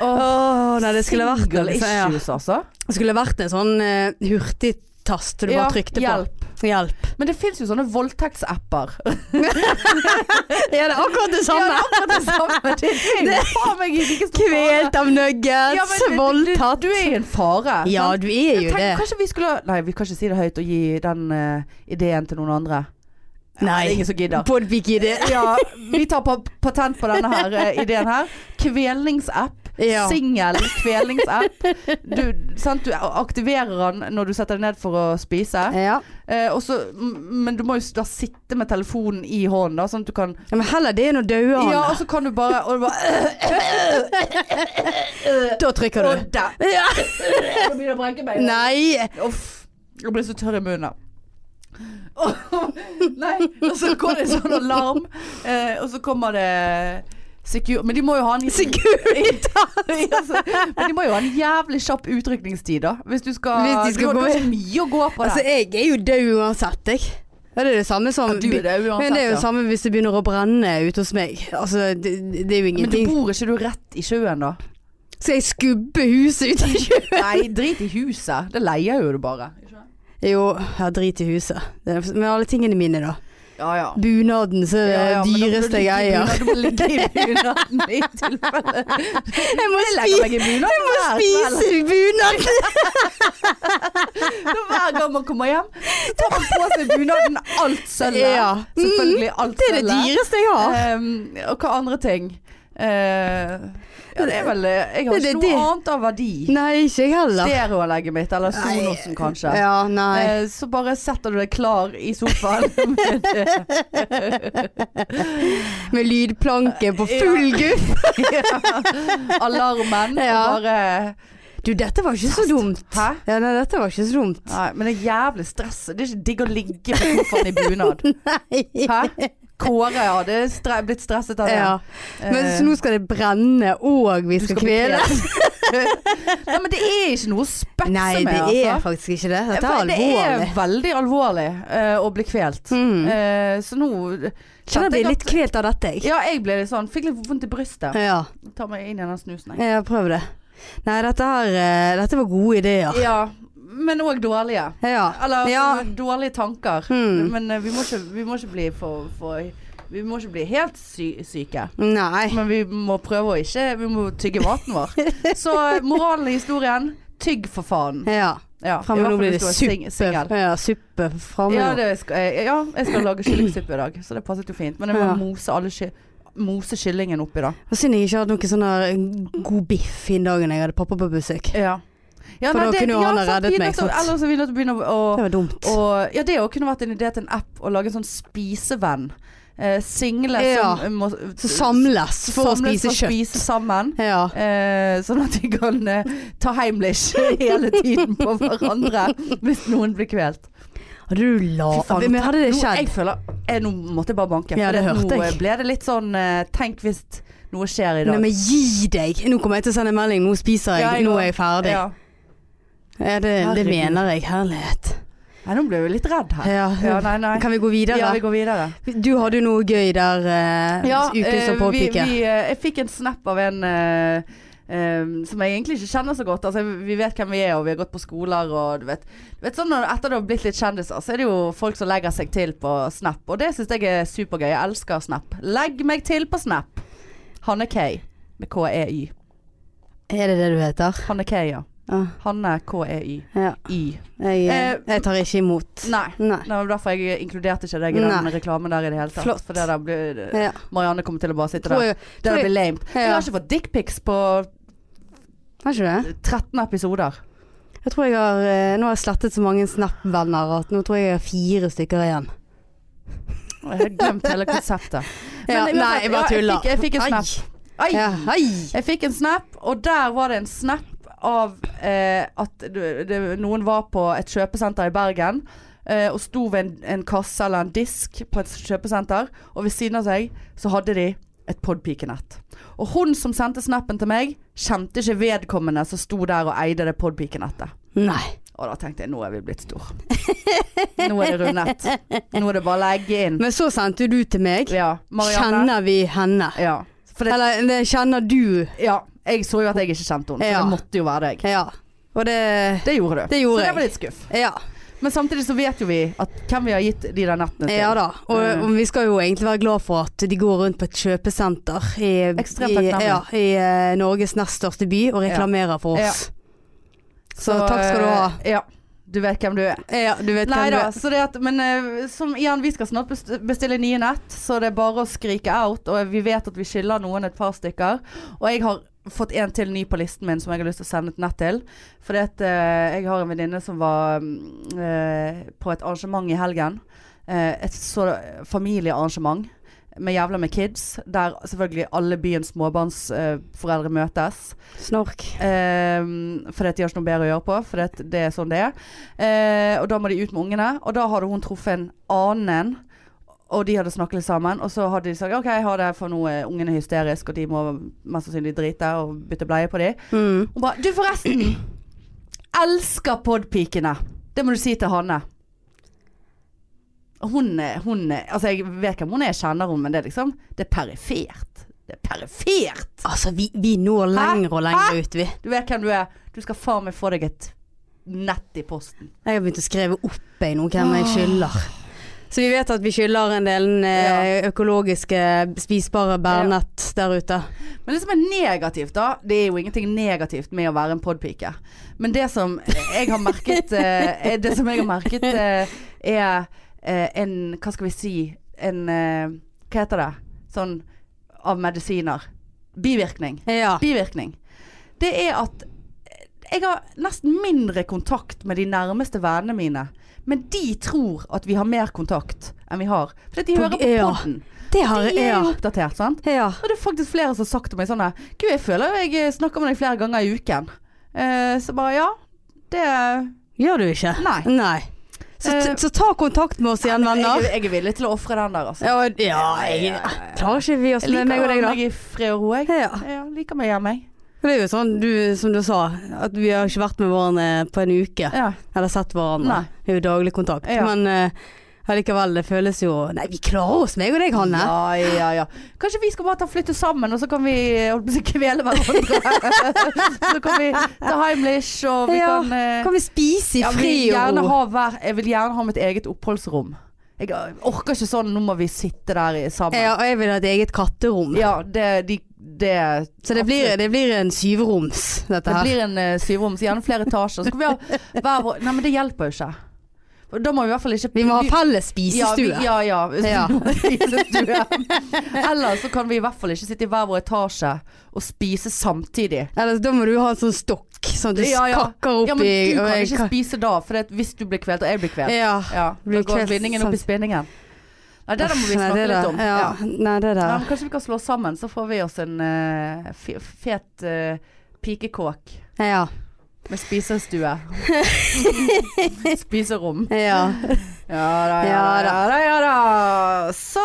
B: Åh,
A: Åh, nei, det skulle vært
B: single
A: liksom, ja.
B: issues, altså.
A: Det skulle vært en sånn eh, hurtigtast du
B: Ja,
A: bare trykte
B: hjelp.
A: på. Hjelp.
B: [LAUGHS] Men det fins jo sånne voldtektsapper.
A: Ja, det er akkurat
B: Ja, det
A: det samme.
B: er akkurat det
A: [LAUGHS]
B: samme. Det er jo faen meg i like stor fare.
A: Kvelt av
B: Ja,
A: nuggets,
B: men du- du-
A: voldtatt.
B: Du er i en fare.
A: Ja,
B: sant?
A: du
B: Jeg
A: er jo det.
B: tenker Kanskje vi skulle Nei, vi kan ikke si det høyt og gi den eh, ideen til noen andre.
A: Nei.
B: Det er ingen som gidder.
A: Podpig-idé.
B: Ja, vi tar pa patent på denne her eh, ideen her. Kvelningsapp.
A: Ja. [LAUGHS]
B: Singel kvelningsapp. Du, sant? du aktiverer den når du setter deg ned for å spise.
A: Ja.
B: Eh, og så- m- men du må jo s- da sitte med telefonen i hånden, da, sånn at du kan
A: ja, men heller det enn å daue han.
B: Ja, og så kan du bare Og, du bare,
A: da trykker du.
B: og der.
A: [LAUGHS] Ja.
B: Jeg begynner å brekke meg.
A: Nei.
B: Uff. Jeg blir så tørr i munnen. Og- Nei. Og så går det en sånn alarm, eh, og så kommer det Secure, men de må jo ha en [LAUGHS] Securitas! men de må jo ha en jævlig kjapp utrykningstid, da. Hvis du skal,
A: Hvis de skal
B: du, har- du
A: gå-
B: har så mye å gå på
A: Altså,
B: der.
A: jeg er jo død uansett, jeg. Ja, det er det samme som
B: Du er det uansett,
A: Men det er jo
B: ja.
A: samme hvis det begynner å brenne ute hos meg. Altså, det, det er jo
B: Men du
A: ingenting.
B: bor ikke du rett i sjøen, da?
A: Skal jeg skubbe huset ut i sjøen?
B: Nei, drit i huset. Det leier jo du bare.
A: Jo, ja, drit i huset. Det er- Men alle tingene mine, da.
B: Ja, ja.
A: Bunaden som er det dyreste jeg eier.
B: Du må ligge i bunaden i tilfelle.
A: Jeg må
B: Jeg legger
A: spise,
B: meg i bunaden hver kveld.
A: spise bunad!
B: Så Hver gang man kommer hjem, så tar man på seg bunaden. Alt sølvet.
A: Ja. Mm.
B: Selvfølgelig alt
A: Det er det
B: sølvet.
A: dyreste jeg har.
B: Ehm, og hva andre ting? Eh, ja, det er vel Jeg har
A: Det er
B: ikke
A: det.
B: noe annet av verdi.
A: Nei, ikke jeg heller.
B: Stereoanlegget mitt, eller Sonosen kanskje.
A: Ja, nei.
B: Eh, Så bare setter du deg klar i
A: [LAUGHS]
B: sofaen. [LAUGHS]
A: Med lydplanke
B: eh,
A: på full guff.
B: Alarmen
A: Ja.
B: og bare
A: Du, dette var ikke så dumt.
B: Hæ?
A: Ja, nei, dette var ikke så dumt.
B: Nei, men det er jævlig stress. Det er ikke digg å ligge på sofaen i
A: [LAUGHS]
B: bunad. Hæ? Kåre hadde stre blitt stresset av det.
A: Ja. Men
B: Eh,
A: så nå skal det brenne, og vi
B: du
A: skal kvele. [LAUGHS]
B: Nei, men det er ikke noe å spøkse
A: Nei,
B: med.
A: det er
B: altså.
A: faktisk ikke det. Dette er
B: For Det
A: alvorlig.
B: er veldig alvorlig eh, å bli kvelt.
A: Mm.
B: Eh, så nå
A: Kjenner jeg
B: kjente jeg
A: blir
B: at-
A: litt kvelt av dette, jeg.
B: Ja, jeg ble litt sånn. Fikk litt vondt i brystet.
A: Ja,
B: Ta meg inn i den snusen, jeg.
A: ja prøv det. Nei, dette her eh, Dette var gode ideer.
B: Ja, men òg dårlige.
A: Ja.
B: Eller altså,
A: Ja.
B: dårlige tanker.
A: Mm.
B: Men eh, vi, må ikke, vi må ikke bli for, for Vi må ikke bli helt sy syke.
A: Nei.
B: Men vi må prøve å ikke Vi må tygge maten
A: [LAUGHS]
B: vår. Så eh, moralen i historien tygg for faen.
A: Ja.
B: Ja, i
A: Fremme
B: hvert
A: nå
B: fall
A: blir
B: hvis du
A: det
B: er sing-
A: suppe.
B: singel.
A: Ja, suppe fremme
B: Ja,
A: nå.
B: det skal, jeg, ja, jeg skal lage kyllingsuppe i dag, så det passet jo fint. Men jeg må
A: Ja.
B: mose, alle, ky- mose kyllingen oppi, da.
A: Og Synd jeg ikke hadde noe sånn her god biff den dagen jeg hadde pappa på besøk.
B: Ja. Ja,
A: For da kunne jo han ha reddet meg, sant?
B: Ellers er vi nødt til å begynne å
A: Det var dumt.
B: å- Ja, det òg kunne vært en idé til en app å lage en sånn spisevenn. eh, single
A: Ja.
B: som må
A: Så samles for å
B: samles
A: spise
B: for å
A: kjøtt.
B: spise sammen.
A: Ja.
B: Eh, sånn at de kan eh, ta heimlich [LAUGHS] hele tiden på hverandre hvis noen blir kvelt.
A: Hadde du la...
B: Fy faen,
A: Men hadde det
B: nå-
A: skjedd?
B: Jeg føler, jeg, Eh, nå måtte jeg bare banke.
A: Ja,
B: for
A: det hørte
B: nå
A: jeg.
B: ble det litt sånn eh, Tenk hvis noe skjer i
A: Nei,
B: dag.
A: men gi deg! Nå kommer jeg til å sende en melding. Nå spiser jeg.
B: Ja, jeg
A: nå
B: går.
A: er jeg ferdig. Ja.
B: ja.
A: det, det
B: Herregud.
A: mener jeg. Herlighet.
B: Nei, nå ble jeg jo litt redd her.
A: Ja.
B: Ja, nei, nei.
A: Kan vi gå videre?
B: Ja, vi går videre.
A: Du hadde jo noe gøy der uh, uken som
B: eh,
A: påpike.
B: Vi, vi, eh, jeg fikk en snap av en eh, eh, som jeg egentlig ikke kjenner så godt. Altså, vi vet hvem vi er, og vi har gått på skoler og du vet. Du vet sånn, når- etter du har blitt litt kjendiser, så er det jo folk som legger seg til på Snap. Og det syns jeg er supergøy. Jeg elsker Snap. Legg meg til på Snap. Hanne K. Med KEY.
A: Er det det du heter?
B: Hanne K, ja.
A: Ja.
B: Hanne KEY.
A: ja.
B: Y.
A: Jeg, eh,
B: Eh,
A: jeg tar ikke imot.
B: Nei.
A: Nei.
B: Det var derfor jeg inkluderte ikke deg i
A: Nei.
B: den reklamen der i det hele tatt.
A: Flott.
B: For det der blir
A: Ja.
B: Marianne kommer til å bare sitte
A: Tror
B: der.
A: jeg,
B: Det
A: tror
B: der
A: jeg,
B: blir lame. Jeg har
A: ja.
B: ikke fått dickpics på
A: Har ikke du det?
B: 13 episoder.
A: Jeg tror jeg har eh, Nå har jeg slettet så mange Snap-venner at nå tror jeg jeg har fire stykker igjen.
B: Jeg har glemt hele konseptet. Men
A: Ja,
B: uansett,
A: nei, jeg bare
B: ja, jeg
A: tuller.
B: fikk- jeg fikk en
A: Ai.
B: Ai!
A: Ja, ai.
B: Jeg fikk en snap, og der var det en snap av eh, at du- det, noen var på et kjøpesenter i Bergen. eh, og sto ved en, en kasse eller en disk på et kjøpesenter, og ved siden av seg så hadde de et podpikenett. Og hun som sendte snappen til meg, kjente ikke vedkommende som sto der og eide det podpikenettet.
A: Nei.
B: Og da tenkte jeg nå er vi blitt stor. Nå er det rundet. Nå er det bare å legge inn.
A: Men så sendte du til meg.
B: Ja, Marianne.
A: Kjenner vi henne?
B: Ja. For det,
A: Eller det kjenner du.
B: ja, jeg så jo at jeg ikke kjente henne, så
A: Ja.
B: det måtte jo være deg.
A: Ja. Og det
B: Det gjorde du.
A: Det
B: så
A: gjorde
B: det
A: jeg.
B: var litt skuff.
A: Ja,
B: Men samtidig så vet jo vi at hvem vi har gitt de der nettene til.
A: ja da. Og,
B: Mm.
A: og vi skal jo egentlig være glad for at de går rundt på et kjøpesenter i,
B: Ekstremt
A: i,
B: takknemlig.
A: ja, i eh, Norges nest største by og reklamerer for oss. Så, takk skal du ha.
B: eh, Ja. Du vet hvem du er.
A: Ja, du vet
B: Nei
A: hvem
B: da,
A: du er.
B: så det at Men eh, som igjen, vi skal snart best- bestille nye nett, så det er bare å skrike out. Og vi vet at vi skiller noen et par stykker. Og jeg har fått en til ny på listen min som jeg har lyst til å sende et nett til. Fordi at eh, jeg har en venninne som var mm, eh, på et arrangement i helgen. Eh, et så familiearrangement med jævla med kids. Der selvfølgelig alle byens småbarnsforeldre møtes.
A: Snork.
B: Um, fordi at de har ikke noe bedre å gjøre på, fordi at det er sånn det er. Eh, og da må de ut med ungene, og da hadde hun truffet en annen. Og de hadde snakket litt sammen, og så hadde de sagt OK, ha det, for nå er ungene hysteriske, og de må mest sannsynlig drite og bytte bleie på de.
A: Mm.
B: Hun bare Du, forresten. [CLEARS THROAT] Elsker podpikene. Det må du si til Hanne. Hun, er- hun er- Altså, jeg vet hvem hun er, jeg kjenner henne, men det er liksom Det er perifert. Det er perifert.
A: Altså, vi, vi når lenger og lenger ut, vi.
B: Du vet hvem du er. Du skal faen meg få deg et nett i posten.
A: Jeg har begynt å skrive opp jeg nå hvem jeg skylder. Så vi vet at vi skylder en del eh, økologiske spisbare bærnett der ute.
B: Men det som er negativt, da Det er jo ingenting negativt med å være en podpike. Men det som jeg har merket, eh, er- det som jeg har merket eh, er eh, en Hva skal vi si En eh, Hva heter det? Sånn av medisiner. Bivirkning.
A: Ja.
B: Bivirkning. Det er at eh, jeg har nesten mindre kontakt med de nærmeste vennene mine. Men de tror at vi har mer kontakt enn vi har. Fordi de
A: På-
B: hører på
A: ja.
B: podden.
A: Det har
B: De er
A: jeg.
B: jo oppdatert, sant?
A: Ja.
B: Og det er faktisk flere som har sagt til meg sånn der, Gud, jeg føler jeg snakker med deg flere ganger i uken. Eh, så bare ja. Det
A: Gjør du ikke?
B: Nei.
A: Nei. Så,
B: Eh,
A: så ta kontakt med oss igjen, venner.
B: Jeg, jeg er villig til å ofre den der, altså.
A: Ja, og- ja jeg klarer ikke vi oss
B: Jeg
A: med meg
B: liker
A: og deg, da.
B: meg i fred og ro, jeg.
A: Ja.
B: Ja, liker meg hjemme, jeg.
A: Det er jo sånn du, som du sa, at vi har ikke vært med hverandre på en uke.
B: Ja.
A: Eller sett hverandre.
B: Nei.
A: Det er jo daglig kontakt.
B: Ja.
A: Men eh, allikevel, det føles jo Nei, vi klarer oss, meg og deg, Hanne.
B: ja, ja, ja. Kanskje vi skal bare ta flytte sammen, og så kan vi holdt på å si, kvele hverandre. så kan vi ta Heimlich, og vi
A: Ja,
B: kan eh,
A: Kan vi spise i
B: Ja, men
A: fred
B: jeg vil
A: og
B: gjerne
A: ro?
B: ha hver, Jeg vil gjerne ha mitt eget oppholdsrom. Jeg eh, orker ikke sånn 'nå må vi sitte der i- sammen'.
A: Ja, og jeg vil ha et eget katterom.
B: Ja, det, de, det
A: Så det blir, det blir en syvroms, dette
B: Det
A: her.
B: blir en uh, syvroms, gjerne flere etasjer. Så skal vi ha hver vår Nei, men det hjelper jo ikke. Og Da må vi i hvert fall ikke
A: Vi må ha felles
B: ja, vi,
A: spisestue.
B: ja, ja. [LAUGHS]
A: [LAUGHS] Ja.
B: Spisestue. Eller så kan vi i hvert fall ikke sitte i hver vår etasje og spise samtidig.
A: Ellers da må du ha en sånn stokk, sånn at du
B: Ja, ja.
A: skakker opp
B: Ja, men
A: i
B: du
A: og
B: kan
A: jeg
B: ikke spise da, for det at hvis du blir kvelt, og jeg blir kvelt
A: Ja.
B: Ja,
A: Blir
B: da går
A: kvelt,
B: vinningen opp i
A: sant.
B: spinningen. Ja, det der må vi
A: Nei,
B: snakke
A: det
B: litt
A: der-
B: om.
A: Ja.
B: Ja.
A: Nei, det
B: Ja,
A: der.
B: men kanskje vi kan slå oss sammen, så får vi oss en eh, fe- fet eh, pikekåk
A: Ja.
B: med spisestue.
A: [LAUGHS]
B: Spiserom.
A: ja.
B: Ja da, ja da, ja da. Ja, da. Så,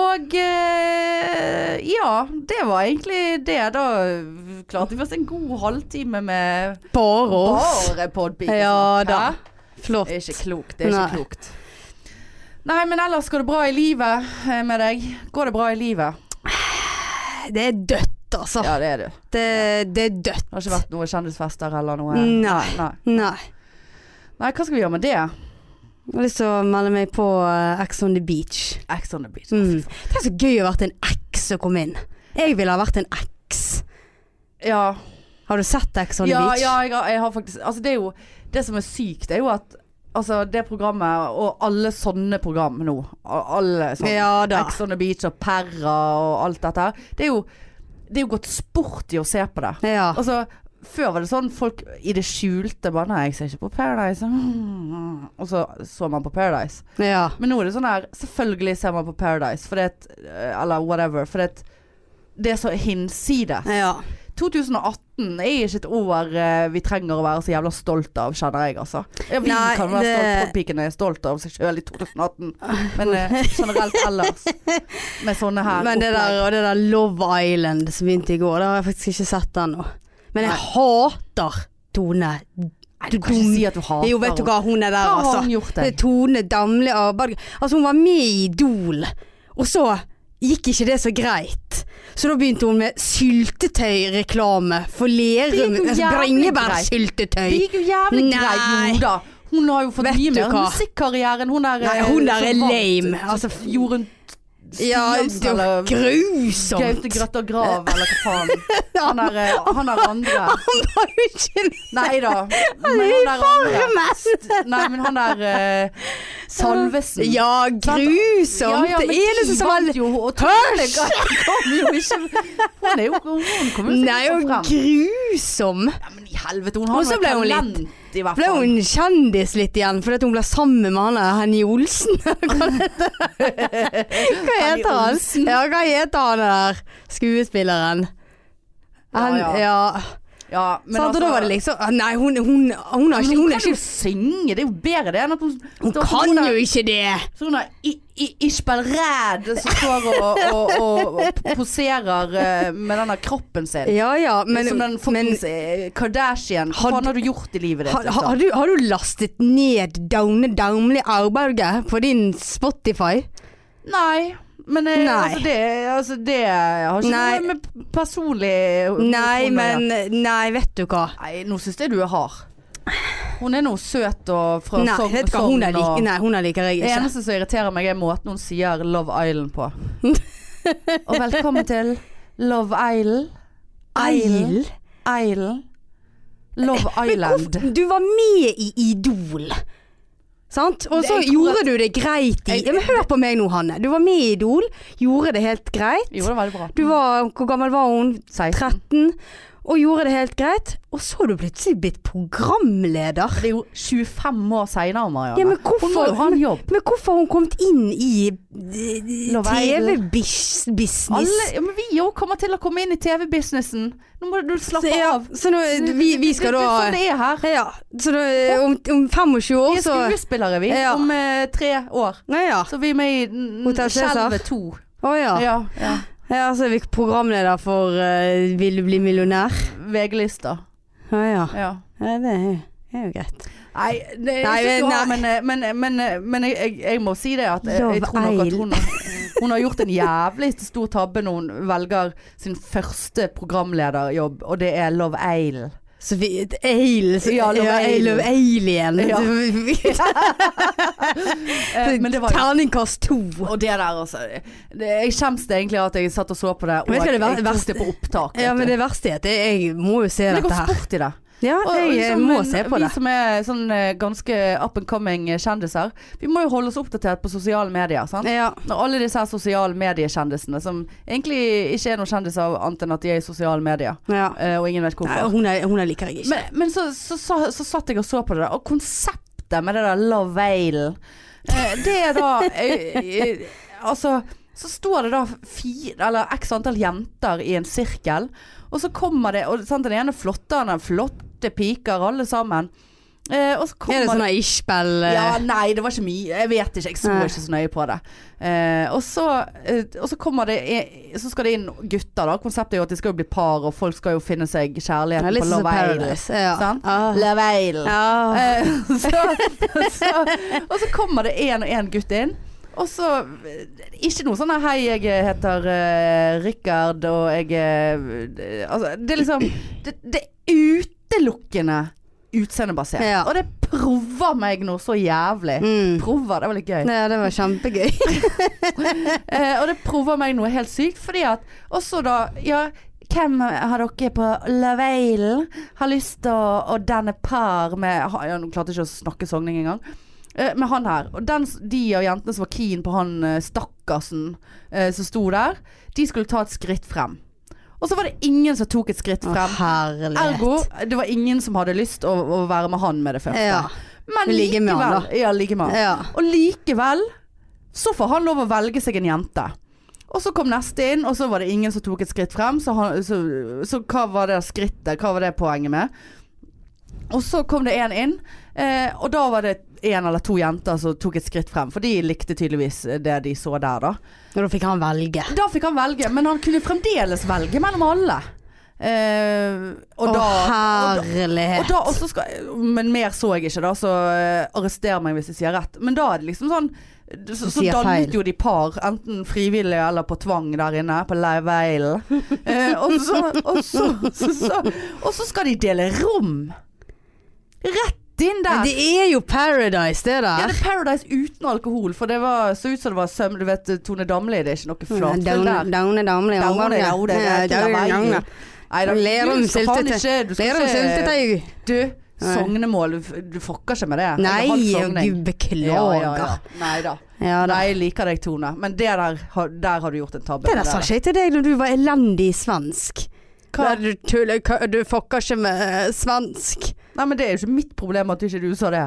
B: og eh, ja, det var egentlig det. Da klarte vi oss en god halvtime med
A: Bare oss.
B: bare podpikesnakk.
A: Ja da.
B: Hæ?
A: Flott.
B: Det er ikke klokt. Det er
A: Nei.
B: ikke klokt. Nei, men ellers går det bra i livet eh, med deg. Går det bra i livet?
A: Det er dødt, altså.
B: Ja, det er det.
A: Det, det er dødt.
B: Det har ikke vært noe kjendisfester eller noe?
A: Nei.
B: Nei.
A: Nei.
B: Nei, hva skal vi gjøre med det?
A: Jeg har lyst til å melde meg på eh, Ex on the beach.
B: Ex on the beach.
A: Mm. Det er så gøy å ha vært en ex som kom inn. Jeg ville ha vært en ex.
B: Ja.
A: Har du sett Ex on the
B: ja,
A: beach?
B: ja jeg, har, jeg har faktisk Altså, det er jo Det som er sykt, er jo at Altså, det programmet, og alle sånne program nå a- Alle sånne.
A: Ja da.
B: Ex on the beach og Perra og alt dette her. Det er jo Det er jo gått sport i å se på det.
A: Ja.
B: Altså, før var det sånn folk i det skjulte bare Nei, jeg ser ikke på Paradise. [LAUGHS] Og så så man på Paradise.
A: ja.
B: Men nå er det sånn her Selvfølgelig ser man på Paradise fordi at, eh, Eller whatever Fordi at det er så hinsides
A: ja.
B: 2018 er ikke et år eh, vi trenger å være så jævla stolt av Kjenner jeg altså ja, Vi
A: Nei,
B: kan være stolt
A: det-
B: Podpikene er stolt av seg selv i 2018
A: [LAUGHS]
B: Men eh, generelt ellers Med sånne her
A: Men det
B: opplegg.
A: der, og det der Love Island som begynte i går, det har jeg faktisk ikke sett ennå. Men jeg hater Tone.
B: Nei, Du kan ikke si at du hater
A: Jo, vet du
B: henne.
A: hva, hun er der,
B: Hva har
A: altså.
B: hun gjort
A: Det
B: deg?
A: er Tone Damli Arbeid. Altså, hun var med i Idol, og så gikk ikke det så greit. Så da begynte hun med syltetøyreklame for Lerum.
B: jo jævlig
A: Altså,
B: Det
A: Bringebærsyltetøy.
B: gikk jo jævlig
A: Nei.
B: greit Jo da Hun har jo fått
A: Vet
B: mye
A: du
B: mer
A: hva?
B: musikkarrieren Hun der
A: Nei,
B: eh,
A: hun der
B: som
A: er
B: vant-
A: lame. Altså,
B: som Gjorde hun
A: Ja,
B: Stiansen,
A: det var
B: eller- Gaute
A: [LAUGHS] grusomt.
B: Grøtta Grav, eller hva
A: [LAUGHS]
B: faen. Han er, eh, han er andre.
A: Han var jo ikke med
B: Nei da. Men han
A: i
B: er andre.
A: Farmen!
B: Nei, men han er eh, Salvesen.
A: Ja, grusomt.
B: men
A: det eneste
B: de
A: som var
B: vant jo, og Tone kom jo ikke Hun er jo Hun kommer jo
A: Nei,
B: ikke
A: og
B: fram.
A: grusom.
B: Ja, men i helvete, hun
A: Og
B: har
A: så
B: jo
A: ble hun
B: talent, i hvert
A: Ble
B: fall.
A: hun kjendis litt igjen fordi at hun ble sammen med han der Henny Olsen? [LAUGHS] Hva heter- hva
B: Henny
A: heter han?
B: Olsen.
A: Ja, hva heter han der skuespilleren? Han,
B: Ja, ja.
A: ja,
B: Ja, men
A: Sant, og da
B: altså-
A: var det liksom ah, Nei, hun, hun, hun, har
B: Men
A: ikke,
B: hun
A: hun, er
B: kan jo
A: ikke,
B: synge, det er jo bedre det enn at hun
A: hun kan jo ikke det!
B: Så hun er i- i- Ishbel Ræd som står og, og, og, og poserer eh, med den der kroppen sin.
A: Ja ja, men,
B: som den
A: men
B: fuckings eh, Kardashian. Hva
A: Had-
B: faen har du gjort i livet ditt?
A: har,
B: liksom?
A: har, du, har du lastet ned Daune Daumli Auberge på din Spotify?
B: Nei. Men eh,
A: Nei.
B: Altså, det, altså det har ikke
A: Nei.
B: noe med p- personlig
A: Nei,
B: hun å gjøre.
A: men Nei, vet du hva.
B: Nei, nå syns jeg du er hard. Hun er nå søt og fra
A: Nei,
B: Sogn
A: vet du hva, hun
B: og-
A: er, like, nei, hun er liker jeg
B: Det
A: ikke.
B: eneste som irriterer meg, er måten hun sier Love Island på.
A: [LAUGHS]
B: og velkommen til Love Island.
A: Eil?
B: Island. Love Island.
A: Du var med i Idol. Sant? Og
B: Det-
A: så
B: jeg tror
A: gjorde du det greit i
B: Jeg-
A: ja, Men hør på meg nå, Hanne. Du var med i Idol, gjorde det helt greit.
B: Jo, det var veldig bra.
A: Du var, hvor gammel var hun?
B: 16.
A: 13. Og gjorde det helt greit. Og så er du plutselig blitt programleder.
B: Det er jo 25 år seinere, Marianne.
A: Ja, men
B: Hun må
A: hvorfor,
B: jo ha en jobb.
A: men hvorfor har hun kommet inn i
B: Love Island.
A: TV-business?
B: Alle, ja, men vi jo kommer til å komme inn i TV-businessen. Nå må du
A: Så,
B: slappe
A: ja,
B: av.
A: så nå, vi, vi skal
B: det, det, det, er
A: da
B: sånn det er her.
A: Ja, så da, om, om 25 år
B: Vi er
A: så
B: skuespillere, vi.
A: altså. Ja.
B: Om eh, tre år.
A: Nei, ja.
B: Så vi er med i
A: Hotel Cæsar.
B: Skjelvet 2.
A: Å ja.
B: Ja. ja.
A: Ja, så er vi programleder for eh, Vil du bli millionær?
B: VG-lista.
A: Å ja.
B: Ja.
A: ja det er jo, det er jo greit.
B: Nei, det, jeg
A: Nei,
B: synes du
A: men-
B: har, men, eh, men, men, eh, men jeg, jeg, jeg må si det at jeg, jeg
A: Love
B: tror nok at hun,
A: Island.
B: hun har gjort en jævlig stor tabbe når hun velger sin første programlederjobb, og det er Love Island.
A: Så vi Ale, så,
B: Ja, Love
A: I
B: Alien.
A: love alien. [LAUGHS]
B: Ja. Eh, men det var jo
A: Terningkast to.
B: og det der, altså. Det, jeg skjemmes det egentlig at jeg satt og så på det, og
A: Vet du hva
B: jeg,
A: det ver-
B: jeg tok
A: verste-
B: det på opptak.
A: Ja,
B: vet
A: men
B: du.
A: det verste er at jeg må jo se
B: Men det
A: dette
B: går
A: her.
B: sport i det.
A: Ja,
B: Og- og
A: jeg eh,
B: liksom,
A: må
B: men
A: se på det.
B: Vi som er sånn eh, ganske up and coming eh, kjendiser, vi må jo holde oss oppdatert på sosiale medier. sant?
A: Ja.
B: Når alle disse her sosiale mediekjendisene, som egentlig ikke er noen kjendiser annet enn at de er i sosiale medier,
A: ja.
B: eh, og ingen vet
A: Nei,
B: hvorfor.
A: hun, er, hun er liker jeg ikke.
B: Men, men så, så, så, så satt jeg og så på det, der, og konseptet med det der Love Island, eh, det er da eh, eh, altså så står det da fire, eller x antall jenter i en sirkel, og så kommer det og, sant, Den ene flottere enn den flotte piker, alle sammen. Eh, og så kommer
A: Er det sånn ishbell?
B: ja, nei, det var ikke mye. Jeg vet ikke, jeg så
A: Nei.
B: ikke så nøye på det. Eh, og, så, eh, og så kommer det eh, Så skal det inn gutter, da. Konseptet er jo at de skal jo bli par, og folk skal jo finne seg kjærlighet
A: litt
B: på
A: sånn som
B: Love Island.
A: Paradise. Ja.
B: Sant?
A: Ah.
B: Love Island.
A: [LAUGHS] Ja.
B: Eh, [LAUGHS] så, så, og så kommer det én og én gutt inn. Og så eh, Ikke noe sånn her, 'hei, jeg heter eh, Rikard', og jeg eh, Altså, det er liksom Det, det er utelukkende utseendebasert.
A: Ja.
B: Og det prover meg noe så jævlig.
A: Mm.
B: Prover, det var litt gøy.
A: ja, det var kjempegøy.
B: Eh, og det prover meg noe helt sykt, fordi at også da Ja, hvem har dere på Love Island har lyst til å, å danne par med ha- ja, Nå klarte jeg ikke å snakke sogning engang. Eh, med han her. Og den, s- de av jentene som var keen på han eh, stakkarsen eh, som sto der, de skulle ta et skritt frem. Og så var det ingen som tok et skritt
A: Å,
B: frem.
A: herlighet.
B: Ergo, det var ingen som hadde lyst å, å være med han med det første.
A: Ja.
B: Men
A: Men ligge med han,
B: likevel. Ja, ligge med han.
A: ja.
B: Og likevel så får han lov å velge seg en jente. Og så kom neste inn, og så var det ingen som tok et skritt frem. Så, han, så, så hva var det skrittet? Hva var det poenget med? Og så kom det én inn, eh, og da var det én eller to jenter som tok et skritt frem. For de likte tydeligvis det de så der, da.
A: Og da fikk han velge.
B: Da fikk han velge, men han kunne fremdeles velge mellom alle. Eh, og,
A: Å,
B: da, og, og
A: herlighet.
B: da også skal, men mer så jeg ikke, da, så eh, arrester meg hvis jeg sier rett. Men da er det liksom sånn Så, så
A: sier feil.
B: dannet jo de par, enten frivillig eller på tvang der inne, på Live
A: [LAUGHS]
B: Island. Eh, og, så, og, så, så, så, og så skal de dele rom! Rett inn
A: Men
B: der!
A: det er jo Paradise, det
B: Ja,
A: der.
B: det er Paradise uten alkohol, for det var, så ut som det var søm... Du vet, Tone Damli, det er ikke
A: Mm,
B: noe flatfyll der.
A: Daune, damle,
B: Daune, daune, daune, daune. Nei da,
A: Lerum
B: du skal faen ikke
A: syltetøy.
B: Du skal
A: Lerum
B: ikke
A: syltetøy.
B: Du, sognemål, du, f- du fucker ikke med det. sånn
A: Nei,
B: Eller halv sogning.
A: gud beklager.
B: Nei da.
A: Ja da.
B: Nei, jeg liker deg, Tone, men det der, har- der har du gjort en tabbe.
A: Det der sa ikke jeg til deg når du var elendig i svensk.
B: Hva?
A: Nei, Du tuller, hva- du fucker ikke med eh, svensk.
B: Nei, men det er jo ikke mitt problem at ikke du sa det.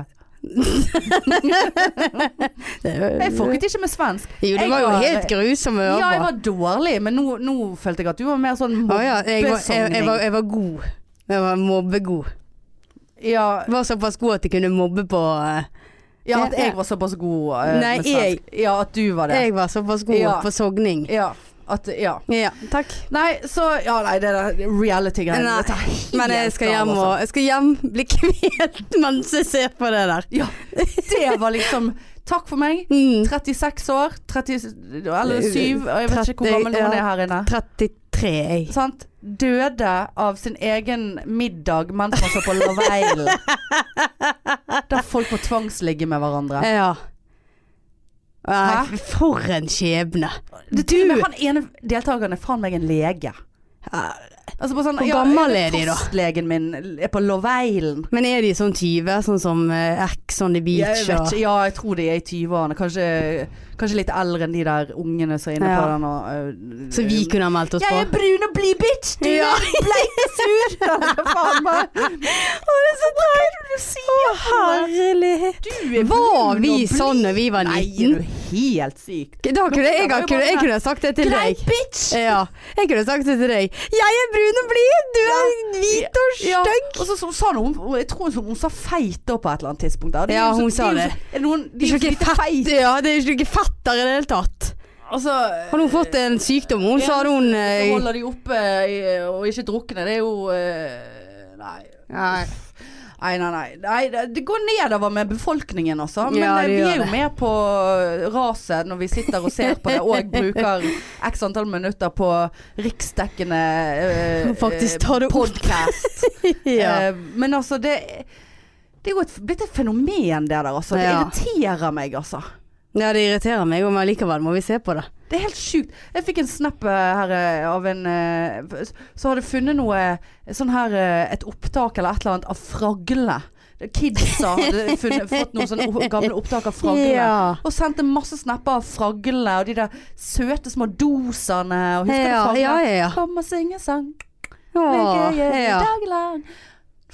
B: Jeg fucket ikke med svensk.
A: Jo, det
B: Jeg
A: var jo
B: var-
A: helt grusomme ører.
B: Ja, jeg var dårlig, men nå, nå følte jeg at du var mer sånn
A: Å ja, jeg, var, jeg, jeg, var,
B: mobbesogning.
A: jeg var god. Jeg var mobbegod.
B: Ja,
A: Jeg var såpass god at jeg kunne mobbe på eh,
B: ja, at jeg var såpass god eh,
A: Nei,
B: med svensk. Ja, at du var det.
A: Jeg var såpass god
B: Ja.
A: på sogning.
B: Ja, at, ja.
A: Ja, takk.
B: Nei, så Ja, nei, det der reality-greiene.
A: Nei,
B: dette er helt
A: Men jeg skal
B: gal,
A: hjem,
B: altså.
A: og, jeg skal hjem [LAUGHS] bli kvelt mens jeg ser på det der.
B: Ja, det var liksom Takk for meg.
A: Mm,
B: 36 år, 30, eller
A: Eh,
B: 7, og jeg vet ikke hvor gammel hun er her inne.
A: 33, jeg.
B: Sant? Døde av sin egen middag mens man så på Love Island. Der folk må tvangsligge med hverandre.
A: Ja.
B: Hæ?
A: Nei, for en skjebne.
B: Det, til og med han ene deltakeren er faen meg en lege. Altså bare sånn,
A: Hvor gammel
B: jeg vet
A: er de da?
B: Fastlegen min er på Love Island.
A: Men er de sånn 20, sånn som eh, X on the
B: Jeg
A: beach
B: vet
A: og
B: ikke, ja, jeg tror de er i 20-årene. Kanskje, kanskje litt eldre enn de der ungene som er inne på
A: Ja.
B: den. Og, øh,
A: Så vi kunne ha meldt oss på?
B: brun og blid bitch,
A: du Ja.
B: er bleik og
A: [LAUGHS]
B: sur.
A: det er så teit! Å, herlighet. Var vi sånn når vi var
B: Nei,
A: 19?
B: er du helt syk.
A: Da kunne jeg, jeg,
B: Nå-
A: kunne, jeg kunne ha sagt det til deg.
B: bitch!
A: Ja, jeg kunne ha sagt det til deg. Jeg er brun og blid, du er hvit og
B: Ja,
A: stygg.
B: og så, så sa hun, hun- jeg tror hun, hun sa feit da på et eller annet tidspunkt. da. Det er
A: Ja,
B: jo så-
A: hun sa
B: er jo
A: det.
B: så- Er det noen, de er
A: Det er
B: jo
A: ikke
B: så
A: noe
B: lite feit.
A: fett, ja, det er ikke noe fetter i det hele tatt.
B: Altså,
A: Har hun fått en sykdom? Hun sa det hun
B: så
A: eh,
B: holder de oppe eh, og ikke drukne. Det er jo eh, Nei. [LAUGHS]
A: Nei.
B: Nei, nei, nei. nei. det- Det går nedover med befolkningen, altså. Men
A: Ja,
B: eh,
A: det
B: vi
A: gjør
B: er jo
A: det.
B: med på eh, raset når vi sitter og ser på det,
A: [LAUGHS]
B: og bruker x antall minutter på riksdekkende eh,
A: [LAUGHS] Faktisk
B: eh,
A: tar det opp.
B: podcast.
A: [LAUGHS] Ja.
B: Eh, men altså, det det er jo et, blitt et fenomen, det der, altså. Det
A: Ja.
B: irriterer meg, altså.
A: ja, det irriterer meg, men likevel må vi se på det.
B: Det er helt sjukt. Jeg fikk en snap eh, her eh, av en eh, f- Så hadde jeg funnet noe eh, sånn her eh, Et opptak eller et eller annet av fraglene. Kidsa hadde funnet, fått noen sånne o- gamle opptak av fraglene.
A: Ja.
B: Og sendte masse snapper av fraglene og de der søte små dosene. Og husker
A: Ja,
B: du
A: ja,
B: fraglene?
A: ja.
B: Kom og syng en sang.
A: Åh,
B: Vil jeg gjøre
A: ja.
B: dagen lang.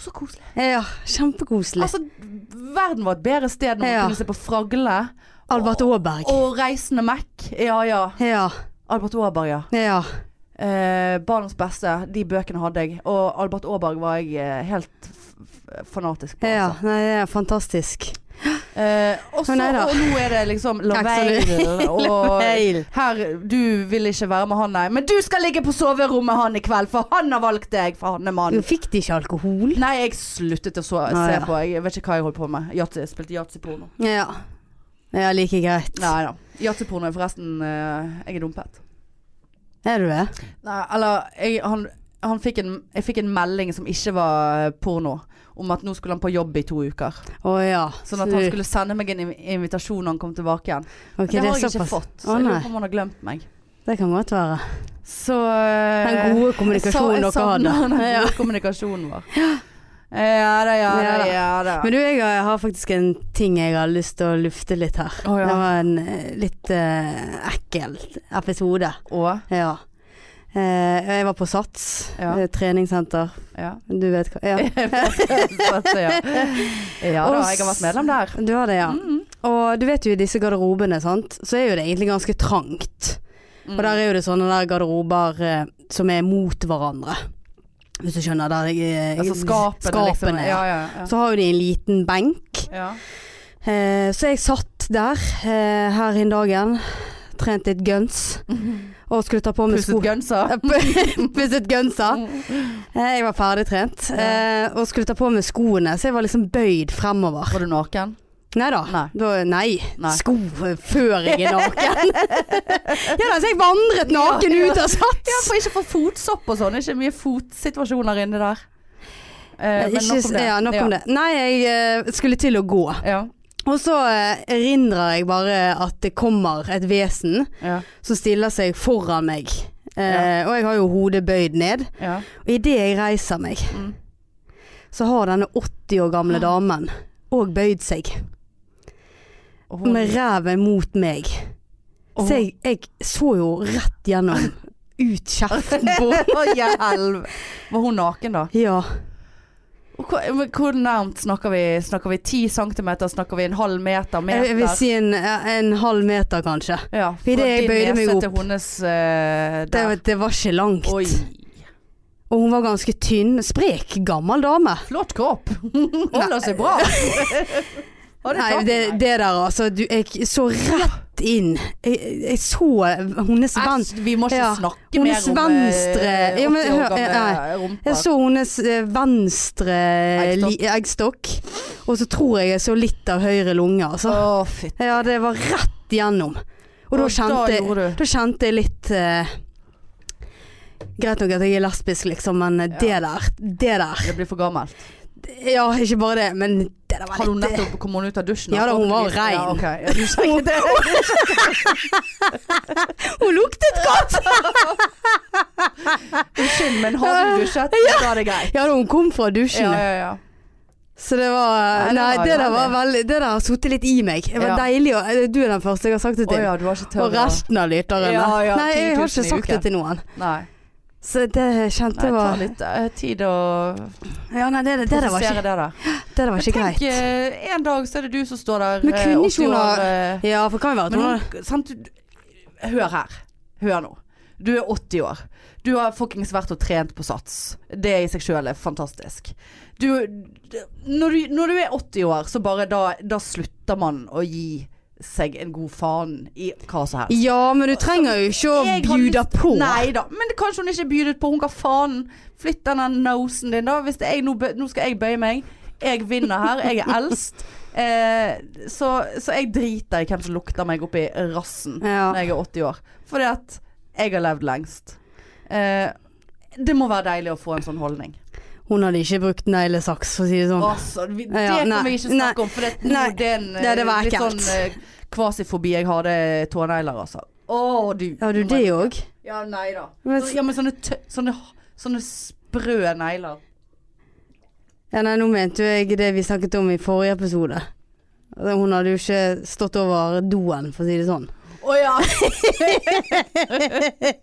B: Så koselig.
A: ja. Kjempekoselig.
B: Altså, verden var et bedre sted når man
A: Ja.
B: kunne se på fragle.
A: Albert Aaberg.
B: Og Reisende Mac. Ja ja.
A: Ja.
B: Albert Aaberg, ja.
A: ja.
B: Eh, Barnets beste. De bøkene hadde jeg. Og Albert Aaberg var jeg eh, helt f f- fanatisk på.
A: ja.
B: Altså.
A: Nei, det er fantastisk.
B: Eh, og så-
A: Å, nei da.
B: og nå er det liksom [LAUGHS] Laveil og
A: Laveil.
B: her, Du vil ikke være med han, nei. Men du skal ligge på soverommet han i kveld, for han har valgt deg, for han er mann.
A: Nå fikk de ikke alkohol.
B: Nei, jeg sluttet å så,
A: Nei,
B: se
A: ja.
B: på. Jeg vet ikke hva jeg holdt på med. Yatzy, spilte yatzy-porno.
A: Ja. Ja, like greit.
B: Nei da. Yatzy-porno er forresten eh, Jeg er dumpet.
A: Er du det?
B: Nei, eller jeg, han, han fikk en, Jeg fikk en melding som ikke var eh, porno Om at nå skulle han på jobb i to uker
A: Å ja.
B: Sånn at
A: Så
B: han
A: du-
B: skulle sende meg en inv- invitasjon Når han kom tilbake igjen
A: Ok,
B: Men Det har jeg
A: såpass.
B: ikke fått Så
A: Å
B: jeg lurer
A: nei.
B: på om han har glemt meg
A: Det kan godt være.
B: Så Eh,
A: Den gode kommunikasjonen dere hadde.
B: Den gode
A: [LAUGHS] Ja.
B: kommunikasjonen vår Ja da, ja da,
A: Ja da.
B: ja da
A: Men du, jeg har- jeg har faktisk en ting jeg har lyst til å lufte litt her.
B: Å, ja.
A: Det var en eh, litt eh, ekkel episode.
B: Og,
A: Ja. Eh, jeg var på Sats,
B: Ja.
A: eh, treningssenter.
B: ja [LAUGHS]
A: Du vet hva Ja,
B: Så, ja. ja da,
A: Og
B: jeg har vært medlem der
A: du har det, ja.
B: Mm,
A: Og du vet jo i disse garderobene, sant, så er jo det egentlig ganske trangt.
B: mm.
A: Og der er jo det sånne der garderober eh, som er mot hverandre. Hvis du skjønner. Der eh,
B: Altså skapene, liksom. Ja,
A: skapene, ja. Sånn.
B: ja, ja.
A: Så har jo de en liten benk.
B: ja.
A: Eh, så jeg satt der eh, her innen dagen, trent litt guns,
B: [LAUGHS]
A: og skulle ta på meg sko.
B: Pusset gønser
A: [LAUGHS]
B: Mm.
A: Pusset gunsa. Eh, jeg var ferdig trent, eh, og skulle ta på meg skoene, så jeg var liksom bøyd fremover.
B: Var du naken?
A: Nei da.
B: Nei.
A: Da- Nei.
B: Nei.
A: Sko eh, før jeg er
B: [LAUGHS]
A: naken. ja da, så jeg vandret
B: Ja,
A: naken
B: ja.
A: ut av Sats.
B: Ja, for ikke for fotsopp og sånn. Ikke mye fotsituasjoner inni der. Eh, men
A: Ikke
B: nok
A: s-
B: om det.
A: Ja, nok om det. Nei, jeg eh, skulle til å gå.
B: Ja,
A: Og så eh, erindrer jeg bare at det kommer et vesen
B: ja,
A: som stiller seg foran meg. Eh, Og jeg har jo hodet bøyd ned.
B: ja.
A: Og idet jeg reiser meg,
B: Mm.
A: så har denne 80 år gamle damen òg bøyd seg.
B: Og hun-
A: Med ræven mot meg.
B: og hun-
A: Så jeg, jeg så jo rett gjennom
B: [LAUGHS]
A: ut kjeften på [LAUGHS]
B: Å, hjelv. Var hun naken, da?
A: Ja.
B: Og Hvor, men hvor nærmt snakker vi? Snakker vi 10 centimeter? Snakker vi en halv meter? meter?
A: Jeg, jeg vil si en, en halv meter, kanskje.
B: ja,
A: i det
B: fra
A: jeg
B: din
A: bøyde meg
B: nese
A: opp.
B: Til hennes, eh,
A: Det,
B: der.
A: det var ikke langt.
B: Oi,
A: Og hun var ganske tynn. Sprek, gammel dame.
B: flott
A: [LAUGHS]
B: kropp. Holder seg bra. Har du
A: Nei,
B: tatt
A: det,
B: den?
A: det der altså du, Jeg så rett inn Jeg, jeg så hennes ven-
B: Æsj, vi må ikke
A: Ja.
B: snakke mer
A: Hennes
B: om
A: venstre-
B: eh,
A: Ja, men
B: 80 år
A: hør-
B: gamle
A: nei.
B: rumper.
A: Jeg så hennes eh, venstre
B: Eggstokk.
A: li- eggstokk Og så tror jeg jeg så litt av høyre lunge altså.
B: Å, fytti.
A: Ja, det var rett gjennom Og da kjente, jeg-
B: gjorde du
A: da kjente jeg litt eh, Greit nok at jeg er lesbisk liksom Men eh, det der, det der
B: Det blir for gammelt.
A: Ja, ikke bare det, men det der var
B: Har hun
A: litt
B: nettopp kom hun ut av dusjen?
A: Ja da, hun var rein.
B: Ja, ok. Ja,
A: [LAUGHS]
B: du sjekket det.
A: Hun luktet godt
B: Unnskyld, men hadde du dusjet, så var det greit.
A: [LAUGHS] Ja, da hun kom fra dusjen
B: Ja, ja, ja.
A: Så det var
B: Nei, det
A: Nei,
B: var
A: det der
B: deilig.
A: var veldig Det der har sittet litt i meg. Det var
B: Ja.
A: deilig å Du er den første jeg har sagt det
B: Å
A: til.
B: ja, du var ikke
A: Og
B: tørr. da.
A: resten av lytterne.
B: Ja, ja,
A: Nei, jeg har
B: 10
A: ikke
B: 000 i
A: sagt det
B: uken.
A: til noen.
B: Nei.
A: Så det
B: Nei,
A: kjente
B: det tar
A: var
B: litt eh, tid å
A: Ja, nei, det, det, der var
B: prosessere det
A: ikke,
B: der.
A: det der var ikke
B: Tenk,
A: greit.
B: eh, en dag så er det du som står der,
A: Men
B: eh,
A: kunne ikke
B: 80
A: hun ha-
B: år eh,
A: Ja, for det kan jo være at
B: Men
A: hun
B: hun,
A: har
B: sant, du- hør her. Hør nå. Du er 80 år. Du har fuckings vært og trent på sats. Det i seg sjøl er fantastisk. Du, d- når, du, når du er 80 år, så bare da, da slutter man å gi seg en god faen i hva som helst.
A: Ja, men du trenger jo ikke å
B: Jeg har
A: bjuda
B: lyst-
A: på.
B: Nei da, men det- kanskje hun ikke bjudet på. Hun ga faen. Flytt denne nosen din, da. Hvis det er jeg, nå, bø- nå skal jeg bøye meg. Jeg vinner her. Jeg er eldst. Eh, så, så jeg driter i hvem som lukter meg opp i rassen
A: Ja.
B: når jeg er 80 år. Fordi at jeg har levd lengst. Eh, det må være deilig å få en sånn holdning.
A: Hun hadde ikke brukt neglesaks, for å si det sånn.
B: Altså, vi, det
A: Ja,
B: kan
A: nei,
B: vi ikke snakke om, for det, nå,
A: nei.
B: det er en eh,
A: Nei, det var
B: litt
A: ekkelt.
B: sånn eh, kvasifobi jeg har. Det er tånegler, altså. Å, du.
A: Har du det òg?
B: Ja, nei da.
A: Men-
B: Så- ja, men sånne, tø sånne, sånne sprø negler.
A: Ja, nei, nå mente jo jeg det vi Altså, snakket om i forrige episode. Hun hadde jo ikke stått over doen, for å si det sånn.
B: Å
A: [LAUGHS]
B: ja.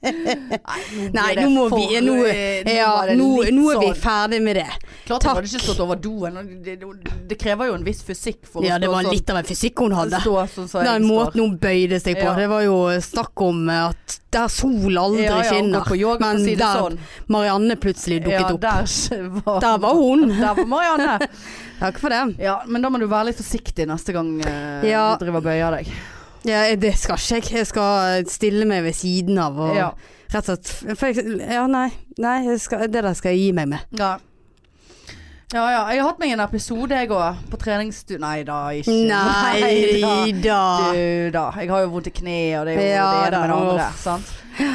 A: Nei, nå må vi Nå,
B: eh,
A: ja, nå, nå er
B: sånn.
A: vi ferdig med det.
B: Klart hun hadde ikke stått over doen. og Det, det, det krever jo en viss fysikk for
A: Ja,
B: å
A: det
B: stå
A: var
B: sånn.
A: litt av en fysikk hun hadde.
B: Stå sånn som jeg
A: Den måten
B: står.
A: hun bøyde seg på,
B: Ja.
A: det var jo snakk om at der sol aldri
B: Ja, ja, hun går
A: skinner.
B: på yoga, for å
A: Men
B: si det
A: der
B: sånn.
A: Marianne plutselig dukket
B: ja,
A: opp.
B: Der var,
A: Der var hun.
B: Der var Marianne.
A: Takk for det.
B: Ja, men da må du være litt forsiktig neste gang eh,
A: Ja.
B: du driver og bøyer deg.
A: Ja, det skal ikke jeg. Jeg skal stille meg ved siden av og
B: Ja.
A: rett og slett for jeg, Ja, nei. nei jeg skal, det der skal jeg gi meg med.
B: Ja. ja ja, jeg har hatt meg en episode jeg òg, på treningsstue Nei da, ikke [LAUGHS]
A: Nei da.
B: Du da. Jeg har jo vondt i kneet, og det er jo
A: Ja
B: det ene
A: da,
B: med det andre.
A: uff.
B: Sant?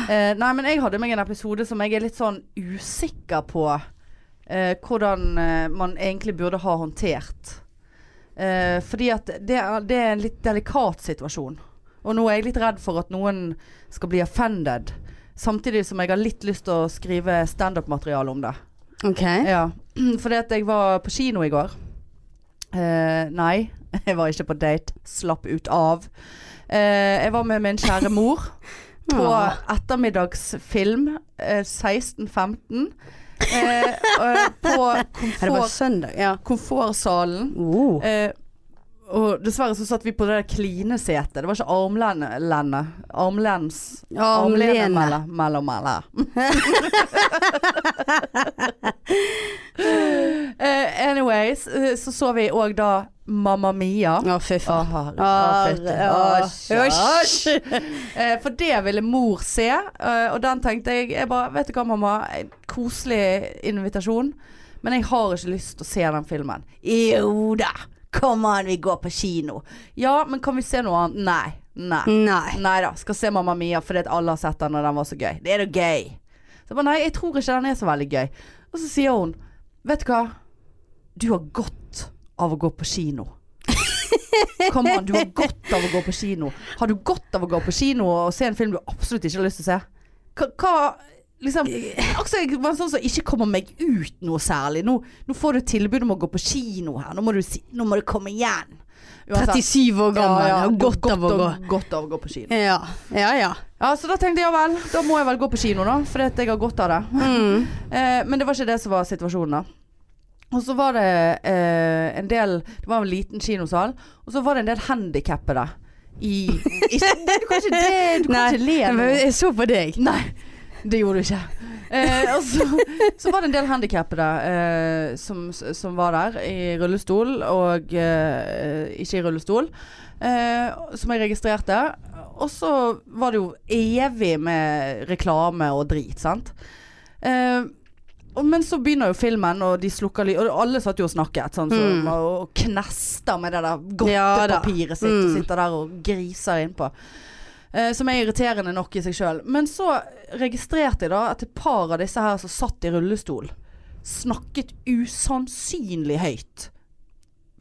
B: Eh, nei, men jeg hadde meg en episode som jeg er litt sånn usikker på eh, hvordan eh, man egentlig burde ha håndtert. Eh, fordi at det er, det er en litt delikat situasjon. Og nå er jeg litt redd for at noen skal bli offended. Samtidig som jeg har litt lyst til å skrive standup-materiale om det.
A: Ok.
B: Ja, [CLEARS THROAT] fordi at jeg var på kino i går. Eh, nei, [LAUGHS] jeg var ikke på date. Slapp ut av. Eh, jeg var med min kjære mor
A: [LAUGHS]
B: på
A: Åh.
B: ettermiddagsfilm eh, 16.15. Eh,
A: [LAUGHS]
B: eh, på
A: Ja, det var
B: komfort,
A: søndag. Ja.
B: komfortsalen.
A: Oh.
B: Eh, og dessverre så satt vi på det der klinesetet. Det var ikke armlene. Armlens Armlene
A: Armlene.
B: mellom- mellom alle. [LAUGHS] Eh, anyways, eh, så så vi òg da Mamma Mia.
A: Å, fy faen.
B: Å, herre-
A: Ah,
B: å, fytti.
A: ah,
B: Å,
A: hysj.
B: [LAUGHS] Eh, For det ville mor se, eh, og den tenkte jeg, jeg bare, Vet du hva, mamma? En Koselig invitasjon, men jeg har ikke lyst til å se den filmen. Jo da! Kom an, vi går på kino. Ja, men kan vi se noe annet? Nei. Nei.
A: Nei.
B: Nei da, skal se Mamma Mia fordi at alle har sett den og den var så gøy. Det er da gøy. Så jeg bare nei, jeg tror ikke den er så veldig gøy. Og så sier hun, vet du hva, du har godt av å gå på kino.
A: [LAUGHS]
B: Kom an, du har godt av å gå på kino. Har du godt av å gå på kino og se en film du absolutt ikke har lyst til å se? Hva, hva liksom Altså, jeg var sånn som ikke kommer meg ut noe særlig. Nå, nå får du tilbud om å gå på kino her. Nå må du, si, nå må du komme igjen. Uansett.
A: 37 år gammel.
B: Ja, ja,
A: og godt av å gå.
B: Godt av å gå på kino.
A: Ja, ja. ja.
B: Ja, så da tenkte jeg ja vel, da må jeg vel gå på kino da, fordi at jeg har godt av det.
A: Mm.
B: Eh, men det var ikke det som var situasjonen da. Og så var det eh, en del, det var en liten kinosal, og så var det en del handikappede i ikke, Du kan ikke det, du kan
A: Nei,
B: ikke le
A: jeg
B: nå.
A: bare- Jeg så på deg.
B: Nei, det gjorde du ikke. Eh, og så, så var det en del handikappede eh, som, som var der i rullestol og eh, ikke i rullestol, eh, som jeg registrerte. Og så var det jo evig med reklame og drit, sant. Eh, og, men så begynner jo filmen, og de slukker lyd. Og alle satt jo og snakket, sånn, så,
A: Mm.
B: og, og knester med det der
A: Ja da.
B: godtepapiret sitt, og
A: Mm.
B: sitter der og griser innpå. Eh, som er irriterende nok i seg sjøl. Men så registrerte jeg da at et par av disse her som satt i rullestol, snakket usannsynlig høyt.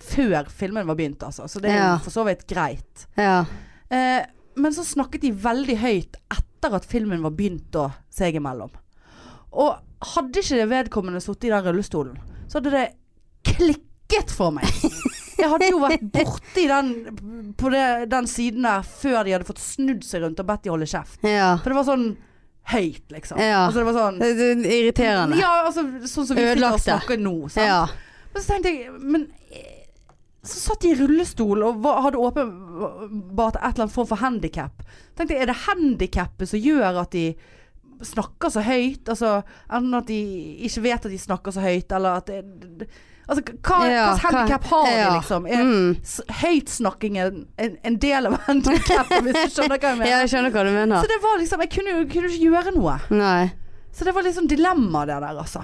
B: Før filmen var begynt, altså. Så det er
A: Ja.
B: jo for så vidt greit.
A: Ja.
B: Eh, men så snakket de veldig høyt etter at filmen var begynt å seg imellom. Og hadde ikke det vedkommende sittet i den rullestolen, så hadde det klikket for
A: [LAUGHS]
B: meg. Jeg hadde jo vært borti den, på det, den siden der før de hadde fått snudd seg rundt og bedt de holde kjeft.
A: ja.
B: For det var sånn høyt, liksom.
A: Ja.
B: Altså det var sånn
A: Det er Irriterende.
B: Ja, altså sånn som vi sitter og
A: Ødelagt det.
B: snakker nå. Sant?
A: Ja.
B: Men så tenkte jeg Men eh, så satt de i rullestol og var, hadde åpenbart et eller annet form for handikap. Tenkte jeg, er det handikappet som gjør at de snakker så høyt? Altså enten at de ikke vet at de snakker så høyt, eller at det, det- Altså hva
A: Ja,
B: slags handikap har de,
A: ja.
B: liksom? Er
A: Mm.
B: s- høytsnakking en, en, en del av [LAUGHS] handikappet, hvis du skjønner hva jeg
A: ja,
B: mener?
A: jeg skjønner hva du
B: Så
A: mener.
B: det var liksom Jeg kunne jo kunne ikke gjøre noe.
A: Nei.
B: Så det var liksom dilemma det der, altså.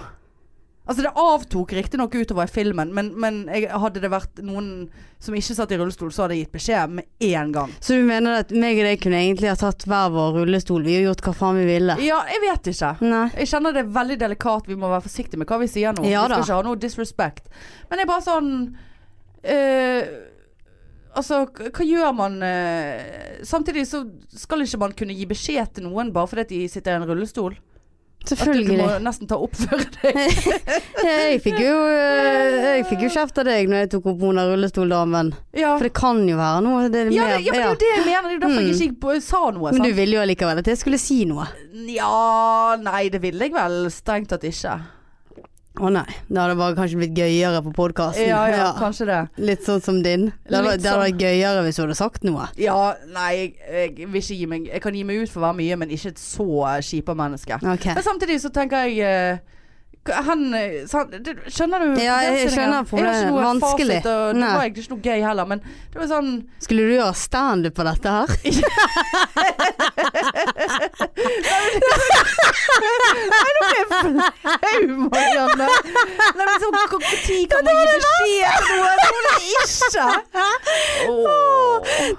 B: Altså Det avtok riktignok utover i filmen, men, men jeg, hadde det vært noen som ikke satt i rullestol, så hadde jeg gitt beskjed med en gang.
A: Så du mener at meg og deg kunne egentlig ha tatt hver vår rullestol? Vi har gjort hva faen vi ville.
B: Ja, jeg vet ikke.
A: Nei.
B: Jeg kjenner det er veldig delikat, vi må være forsiktige med hva vi sier nå. vi
A: Ja
B: skal
A: da.
B: ikke ha noe disrespect. Men det er bare sånn eh, Altså, k- hva gjør man eh, Samtidig så skal ikke man kunne gi beskjed til noen bare fordi at de sitter i en rullestol. At
A: [LAUGHS] Selvfølgelig.
B: du må nesten ta opp for
A: [LAUGHS]
B: deg.
A: Jeg fikk jo, eh, jeg fikk jo kjeft av deg når jeg tok opp hun der rullestoldamen.
B: Ja.
A: For det kan jo være noe. Det er
B: Ja,
A: mer,
B: det, ja, men det er jo det jeg mener. Det er jo derfor jeg
A: Mm.
B: ikke gikk på- sa noe.
A: Men
B: Sant?
A: du ville jo allikevel at jeg skulle si noe.
B: Ja, nei, det ville jeg vel strengt tatt ikke.
A: Å nei. Det hadde bare kanskje blitt gøyere på podkasten.
B: Ja, ja, kanskje det.
A: Litt sånn som din. Det hadde
B: Litt sånn.
A: det hadde vært gøyere hvis du hadde sagt noe.
B: Ja, nei, jeg, jeg vil ikke gi meg Jeg kan gi meg ut for å være mye, men ikke et så kjipa menneske.
A: Ok.
B: Men samtidig så tenker jeg eh, k- han, eh, sant, det- Skjønner du?
A: Ja, jeg- jeg
B: problemstillingen?
A: skjønner
B: Jeg har ikke noe
A: problemet. Vanskelig.
B: fasit, og det
A: Nei.
B: var egentlig ikke noe gøy heller, men det var sånn
A: Skulle du gjøre standup på dette her?
B: Au, Marianne! Nei, men sånn når kan man gi beskjed til noen? Tror du ikke?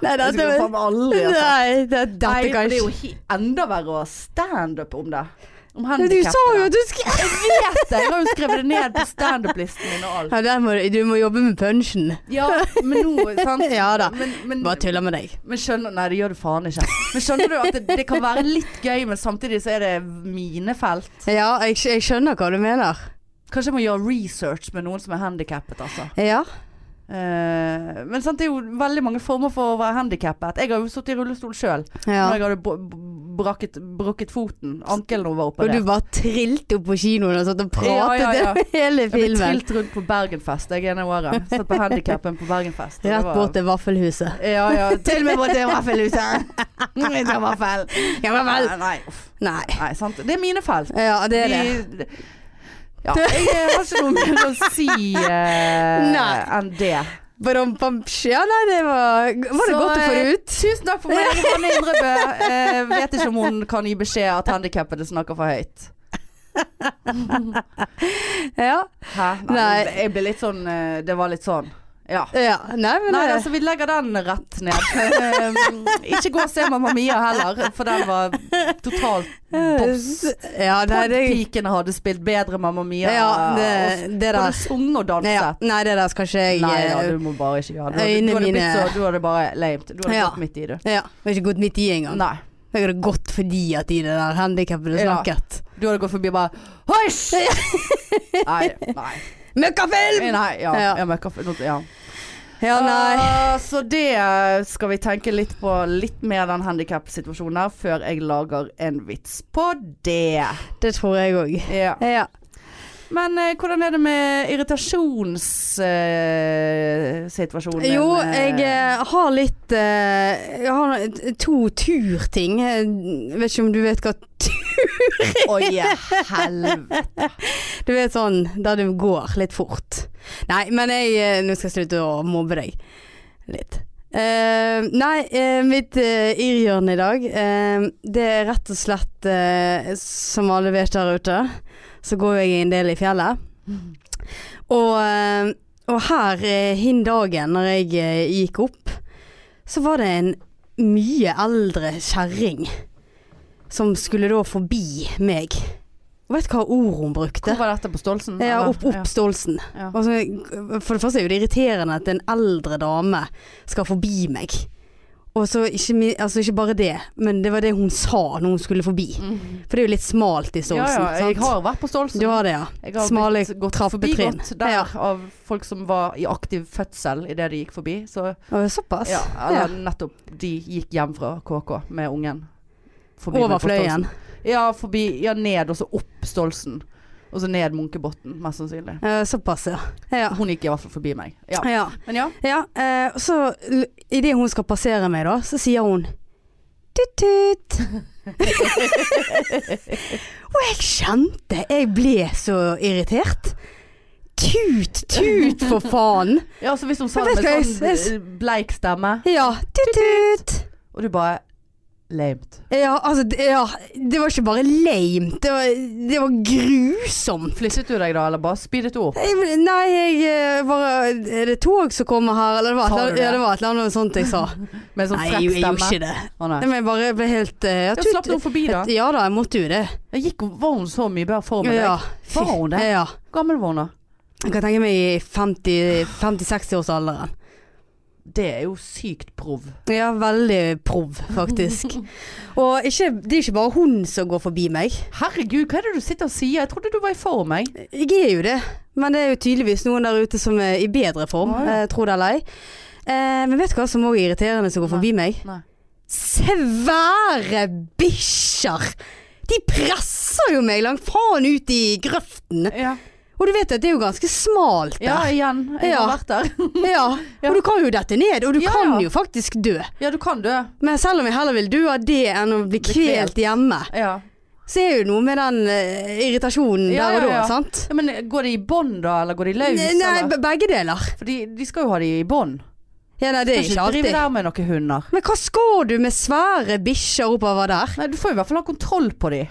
A: Nei,
B: Det skulle jeg faen meg aldri ha sagt.
A: Nei, det, dette
B: Nei, for
A: kan
B: det er
A: ikke
B: jo he- enda verre å ha standup om det. Om
A: Du sa jo
B: handikappede.
A: at du skulle
B: Jeg vet det! Jeg har jo skrevet det ned på standup-listen min og alt.
A: ja, der må, du- Du må jobbe med punchen.
B: Ja, men nå, sant? [LAUGHS]
A: Ja da.
B: Men, men,
A: Bare tuller med deg.
B: men skjønner Nei, det gjør du faen ikke. Men skjønner du at det, det kan være litt gøy, men samtidig så er det mine felt.
A: Ja, jeg, skj- jeg skjønner hva du mener.
B: Kanskje jeg må gjøre research med noen som er handikappet, altså.
A: Ja.
B: Eh, men sant, det er jo veldig mange former for å være handikappet. Jeg har jo sittet i rullestol sjøl
A: ja.
B: når jeg hadde br- br- brakket, brukket foten. Ankelen var
A: Og du
B: operert.
A: bare trilte opp på kinoen og satt og pratet
B: Ja, ja, ja.
A: [LAUGHS] hele
B: Jeg ble
A: filmen.
B: trilt rundt på Bergenfest det ene året. Satt på handikappen på Bergenfest. og det
A: Rett
B: var-
A: bort til vaffelhuset.
B: Ja, ja. Til og med bort til [LAUGHS] vaffelhuset. Jeg tar vaffel.
A: Ja, men vel.
B: Nei, Nei, uff.
A: Nei.
B: nei, sant. Det er mine felt.
A: Ja, det er det.
B: De- Ja, jeg eh, har ikke noe mer å si eh,
A: [LAUGHS] Nei.
B: enn det.
A: Badum, bam, psh. Ja, nei, det var Var det
B: Så, eh,
A: godt å få det ut?
B: Tusen takk for meg, Hanne Indrebø. Eh, vet ikke om hun kan gi beskjed at handikappede snakker for høyt.
A: Ja.
B: Hæ? Nei.
A: Nei.
B: Jeg ble litt sånn eh, Det var litt sånn. Ja.
A: ja. Nei, men
B: Nei,
A: det-
B: altså vi legger den rett [LAUGHS] ned. Um, ikke gå og se Mamma Mia heller, for den var totalt boss.
A: Ja, nei, det
B: Podpikene hadde spilt bedre Mamma Mia.
A: Ja, det, det
B: og
A: der.
B: både sunget og danset.
A: Nei, ja. nei, det der skal ikke jeg
B: Nei da,
A: eh,
B: du må bare ikke gjøre det.
A: Øynene
B: Du hadde, du hadde, blitt
A: mine-
B: så, du hadde bare lamet. Du hadde
A: Ja.
B: gått midt i, du.
A: Ja, jeg har ikke gått midt i engang.
B: Nei.
A: Jeg hadde gått fordi at de der handikappede
B: Ja.
A: snakket.
B: Du hadde gått forbi og bare Hysj! Nei. Nei. Eh,
A: Møkkafilm!
B: nei ja.
A: Ja.
B: Jeg merker for- nå- ja.
A: Ja, nei.
B: Ah, så det eh, skal vi tenke litt på litt mer den handikap-situasjonen her, før jeg lager en vits på det.
A: Det tror jeg òg.
B: Ja.
A: Ja.
B: Men eh, hvordan er det med irritasjonssituasjonen?
A: Jo, jeg eh, har litt eh, Jeg har eh, to turting. Jeg vet ikke om du vet hva
B: Oi, helvete.
A: [LAUGHS] Du vet sånn der du går litt fort. Nei, men jeg eh, Nå skal jeg slutte å mobbe deg litt. Eh, nei, eh, mitt uh, irrhjørne i dag, eh, det er rett og slett eh, Som alle vet der ute, så går jeg en del i fjellet. Og, eh, og her eh, hin dagen når jeg eh, gikk opp, så var det en mye eldre kjerring som skulle da forbi meg. Og vet du hva ord hun brukte?
B: Hvor var dette på Stolsen?
A: Ja,
B: eller?
A: opp, opp Stolsen.
B: Ja.
A: Og så- for det første er jo det irriterende at en eldre dame skal forbi meg. Og så ikke, mi- altså ikke bare det, men det var det hun sa når hun skulle forbi.
B: Mhm.
A: For det er jo litt smalt i
B: Ja,
A: Stolsen.
B: ja, jeg
A: sant?
B: har vært på Stolsen.
A: Du har det, ja.
B: Jeg har
A: Smale
B: blitt gått
A: trappetrinn.
B: forbigått der
A: Ja.
B: av folk som var i aktiv fødsel idet de gikk forbi. Så,
A: Å, Såpass.
B: ja,
A: Ja.
B: eller nettopp de gikk hjem fra KK med ungen. Forbi meg
A: Over
B: på Stolsen.
A: fløyen.
B: Ja, forbi, ja, ned og så opp Stolsen. Og så ned Munkebotn, mest sannsynlig.
A: Eh, Såpass, ja. Ja.
B: Hun gikk i hvert fall forbi meg. Ja.
A: ja.
B: Men ja.
A: Ja, eh, og så l- idet hun skal passere meg da, så sier hun tut-tut. [LAUGHS] og jeg kjente Jeg ble så irritert. Tut, tut, for faen.
B: ja, så hvis hun sa
A: Men
B: det
A: vet
B: med
A: du hva, jeg-
B: sånn eh, bleik stemme,
A: Ja, tut-tut.
B: og du bare Lamet.
A: Ja, altså det, ja, det var ikke bare lame, det var, det var grusomt.
B: Flyttet du deg da, eller bare speedet du opp?
A: Jeg ble- Nei, jeg eh, var Er det tog som kommer her, eller det var et
B: Sa du
A: eller annet- ja,
B: det?
A: det var et eller annet sånt jeg sa.
B: Med sånn
A: Nei,
B: frekk
A: jeg, jeg
B: stemme?
A: gjorde ikke det.
B: Å, nei.
A: Nei, men jeg bare jeg ble helt eh, ja,
B: Ja,
A: tut-
B: slapp hun forbi, da?
A: Ja da, jeg måtte jo det.
B: Jeg gikk, var hun så mye bedre for meg?
A: Ja.
B: Var hun det?
A: Ja.
B: Gammel var hun da?
A: Jeg kan tenke meg i 50 50-60-årsalderen.
B: Det er jo sykt prov.
A: Ja, veldig prov, faktisk.
B: [LAUGHS]
A: Og ikke, det er ikke bare hun som går forbi meg.
B: Herregud, hva er det du sitter og sier? Jeg trodde du var i form, jeg.
A: Jeg er jo det, men det er jo tydeligvis noen der ute som er i bedre form,
B: Å, ja.
A: eh, tro det eller ei. Eh, men vet du hva som òg er irriterende som går forbi meg?
B: Nei.
A: Svære bikkjer! De presser jo meg langt faen ut i grøften.
B: Ja,
A: Og du vet at det er jo ganske smalt
B: ja
A: der.
B: igjen. Jeg
A: Ja.
B: har vært der.
A: Ja, Og du kan jo dette ned, og du
B: Ja,
A: kan
B: ja.
A: jo faktisk dø.
B: [LAUGHS] Ja, du kan dø.
A: Men selv om jeg heller vil dø av det enn å bli
B: Bli
A: kvelt hjemme.
B: Ja.
A: Så er jo noe med den eh, irritasjonen
B: Ja,
A: der og
B: ja,
A: da,
B: ja.
A: sant?
B: ja men går de i bånd da, eller går de løs?
A: Nei, nei,
B: eller?
A: be- begge deler.
B: For de, de skal jo ha de i bånd.
A: Ja, nei, det er ikke
B: Kan drive
A: alltid.
B: der med noen hunder.
A: Men hva skal du med svære bikkjer oppover der?
B: Nei, du får i hvert fall ha kontroll på de,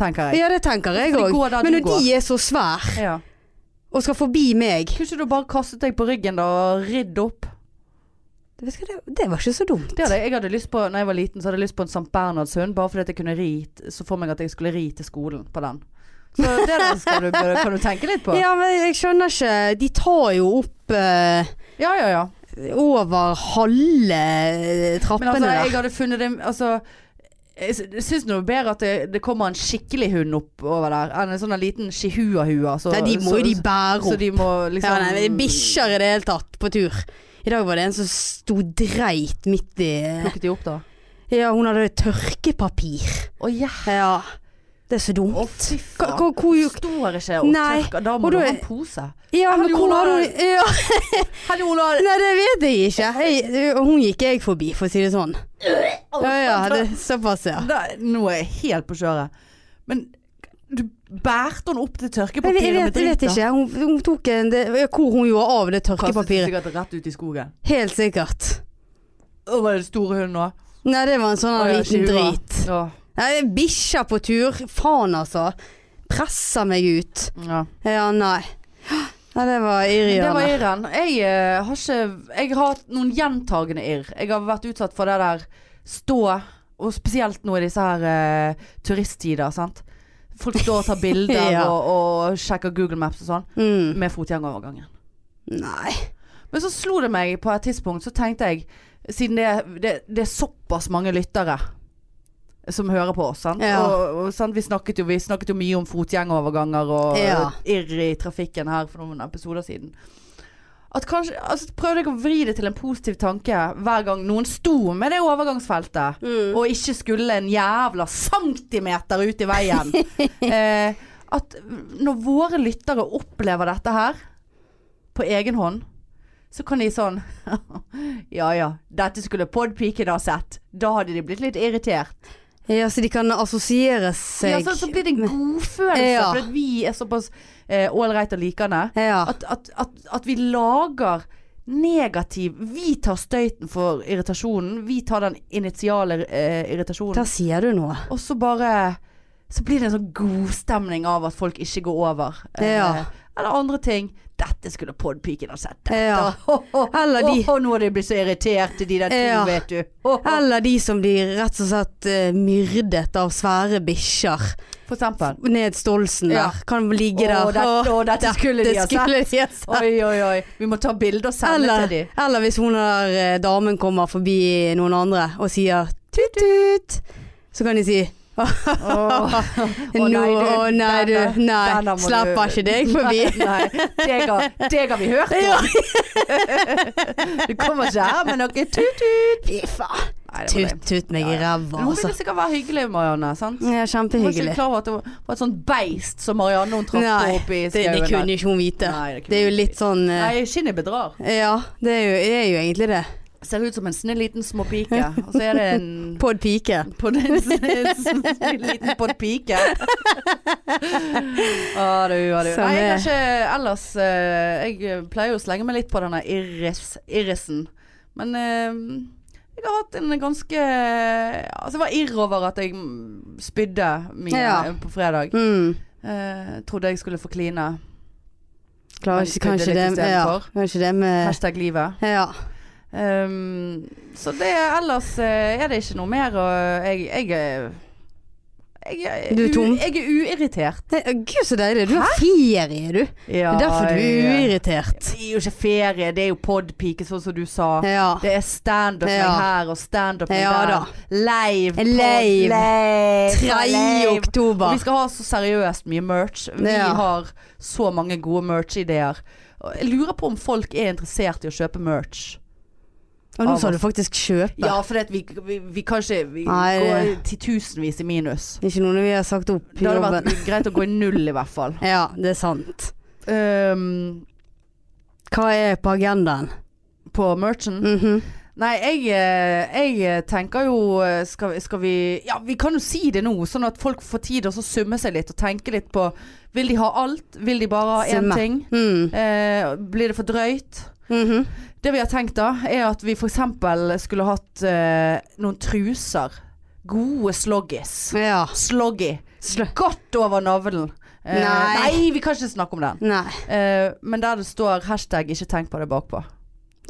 B: tenker jeg.
A: Ja, det tenker jeg
B: For de
A: òg.
B: går der
A: Men
B: du
A: når de er så svære
B: Ja.
A: og skal forbi meg
B: Kunne ikke du bare kastet deg på ryggen da og ridd opp?
A: Vet du hva, Det det var ikke så dumt.
B: Det hadde jeg, jeg hadde lyst på, når jeg var liten, så hadde jeg lyst på en Sankt Bernhardshund, bare fordi at jeg kunne ri, så for meg at jeg skulle ri til skolen på den. Så det der skal du, kan du tenke litt på.
A: Ja, men jeg skjønner ikke. De tar jo opp eh,
B: ja, ja. ja.
A: over halve eh,
B: Men
A: trappene
B: altså, jeg
A: der.
B: hadde funnet det Altså jeg sy- jeg syns det er bedre at det, det kommer en skikkelig hund opp over der, enn en sånn en liten chihuahua. Så,
A: Nei, de må
B: så,
A: jo de bære
B: så
A: opp.
B: de må liksom
A: Ja, nei, men Bikkjer i det hele tatt, på tur. I dag var det en som sto dreit midt i eh,
B: Plukket de opp, da?
A: Ja, hun hadde tørkepapir.
B: Å ja.
A: Ja. Det er så dumt.
B: Å, fy faen.
A: Hva- hva- hvor-
B: Står ikke og
A: Nei.
B: tørker. Da
A: Og
B: må du
A: da
B: ha
A: er-
B: en pose.
A: Ja, men hvor har hun ja,
B: Hallo, Ola.
A: Nei, det vet jeg ikke. Jeg, hun gikk jeg forbi, for å si det sånn. Ja, ja, det, såpass, ja.
B: Da- Nå er jeg helt på kjøret. Men du bærte hun opp til
A: Jeg, vet-
B: tørkepapiret
A: jeg, vet, jeg vet ikke. Hun, hun tok en det, Hvor hun gjorde av det
B: Kastet det
A: tørkepapiret.
B: sikkert rett ut i skogen.
A: Helt sikkert.
B: Å, var det store hunden òg?
A: Nei, det var en sånn
B: Å, ja,
A: liten
B: chihuahua.
A: drit.
B: Ja.
A: Nei, Bikkjer på tur. Faen, altså. Presser meg ut.
B: ja.
A: Ja, nei. Nei, det var
B: Det var
A: irriterende.
B: irren. Jeg eh, har ikke Jeg har hatt noen gjentagende irr. Jeg har vært utsatt for det der stå, og spesielt nå i disse her eh, turisttider, sant. Folk står og tar bilder
A: Ja.
B: og, og sjekker Google Maps og sånn
A: Mm.
B: med fotgjengerovergangen.
A: Nei.
B: Men så slo det meg på et tidspunkt, så tenkte jeg Siden det, det, det er såpass mange lyttere som hører på oss, sant?
A: Ja.
B: Og, og, sant? Vi, snakket jo, vi snakket jo mye om fotgjengeroverganger og
A: Ja.
B: irr i trafikken her for noen episoder siden. At kanskje, altså, prøvde jeg å vri det til en positiv tanke hver gang noen sto med det overgangsfeltet
A: Mm.
B: og ikke skulle en jævla centimeter ut i
A: [LAUGHS]
B: veien. eh, at når våre lyttere opplever dette her på egen hånd, så kan de sånn [LAUGHS] Ja ja, dette skulle podpiken ha sett. Da hadde de blitt litt irritert.
A: Ja, så de kan assosiere seg
B: Ja, så, så blir det en godfølelse
A: Ja.
B: for at vi er såpass ålreite og likende.
A: Ja.
B: At, at, at, at vi lager negativ Vi tar støyten for irritasjonen. Vi tar den initiale eh, irritasjonen.
A: Der sier du noe.
B: Og så bare Så blir det en sånn godstemning av at folk ikke går over. Eh,
A: Ja.
B: eller andre ting. Dette skulle podpiken ha sett. Dette. [LAUGHS]
A: Ja.
B: Ho, ho,
A: Eller de-
B: ho, ho, nå er de blitt så irriterte, de der to,
A: Ja.
B: vet du. [LAUGHS] Ho, ho.
A: Eller de som blir rett og slett eh, myrdet av svære bikkjer
B: For eksempel.
A: ned stolsen
B: Ja.
A: der. Kan ligge
B: Å,
A: der.
B: dette- å, dette skulle de ha
A: sett. De ha sett.
B: Oi, oi, oi. Vi må ta bilder og sende til
A: Eller,
B: de.
A: eller hvis hun der eh, damen kommer forbi noen andre og sier tut-tut, [LAUGHS] så kan de si
B: Å.
A: Nå,
B: Å, nei, du,
A: å nei, du.
B: denne- denne
A: Nei,
B: må du-
A: slipper ikke deg forbi.
B: Nei, deg har, deg har vi hørt om. [LAUGHS]
A: Ja.
B: Du kommer ikke her med noe tut-tut.
A: Fy faen.
B: Nei, det var lame.
A: Tut-tut meg i ræva,
B: Men Hun
A: altså.
B: ville sikkert være hyggelig, Marianne. sant?
A: Ja,
B: Hun var ikke
A: kjempehyggelig.
B: klar over at det var et sånt beist som Marianne hun traff
A: Nei,
B: på opp i
A: Det, det
B: skauen der.
A: kunne ikke hun vite.
B: Nei, det kunne
A: Det er jo
B: hun
A: litt
B: ikke.
A: sånn eh,
B: Nei, skinnet bedrar.
A: Ja, det er jo, det er jo egentlig det.
B: Ser ut som en snill liten småpike. Og så er det en
A: [LAUGHS] På en pike.
B: [LAUGHS] på
A: [LAUGHS]
B: den snill liten podpike. Ah, du, ah, du.
A: Som
B: Nei, jeg
A: er-
B: har ikke ellers eh, Jeg pleier jo å slenge meg litt på denne irris, irrisen. Men eh, jeg har hatt en ganske Altså, jeg var irr over at jeg mm, spydde mye
A: Ja.
B: på fredag.
A: Mm.
B: Eh, trodde jeg skulle få kline.
A: Klarer
B: Men
A: ikke
B: kunne
A: kanskje
B: litt
A: det ja,
B: istedenfor.
A: Kanskje det med
B: Hashtag livet.
A: Ja.
B: Ehm, så det ellers eh, er det ikke noe mer å jeg, jeg, eh, Jeg, er
A: Du er
B: u-
A: tom.
B: Jeg er uirritert.
A: Nei, å, Gud, så deilig. Du har ferie, du. Det
B: Ja,
A: er derfor du er
B: ja.
A: uirritert.
B: Det er jo ikke ferie, det er jo podpike, sånn som du sa.
A: Ja.
B: Det er standup
A: Ja.
B: meg her og standup meg
A: Ja,
B: der.
A: da.
B: Live. pod-
A: Live.
B: live.
A: 3.
B: Og
A: oktober.
B: vi skal ha så seriøst mye merch. Vi
A: Ja.
B: har så mange gode merch-ideer. Og Jeg lurer på om folk er interessert i å kjøpe merch.
A: Og nå sa du faktisk kjøpe.
B: Ja, for det at vi, vi, vi kan ikke Vi
A: Nei,
B: går
A: det-
B: titusenvis i minus.
A: Det er ikke noe vi har sagt opp i
B: Det hadde vært
A: jobben.
B: greit å gå i null i hvert fall.
A: Ja, det er sant.
B: Ehm,
A: Hva er på agendaen?
B: på merchen.
A: Mhm.
B: Nei, jeg, eh, jeg tenker jo eh, skal, vi- skal vi Ja, vi kan jo si det nå, sånn at folk får tid til å summe seg litt og tenke litt på Vil de ha alt? Vil de bare ha én
A: Summe.
B: ting?
A: Mm.
B: Eh, blir det for drøyt?
A: Mhm.
B: Det vi har tenkt da, er at vi f.eks. skulle hatt eh, noen truser. Gode sloggis.
A: Ja.
B: Sloggy.
A: Sl-
B: Godt over navlen. Eh,
A: Nei.
B: nei, vi kan ikke snakke om den.
A: Nei.
B: Eh, men der det står hashtag 'ikke tenk på det' bakpå.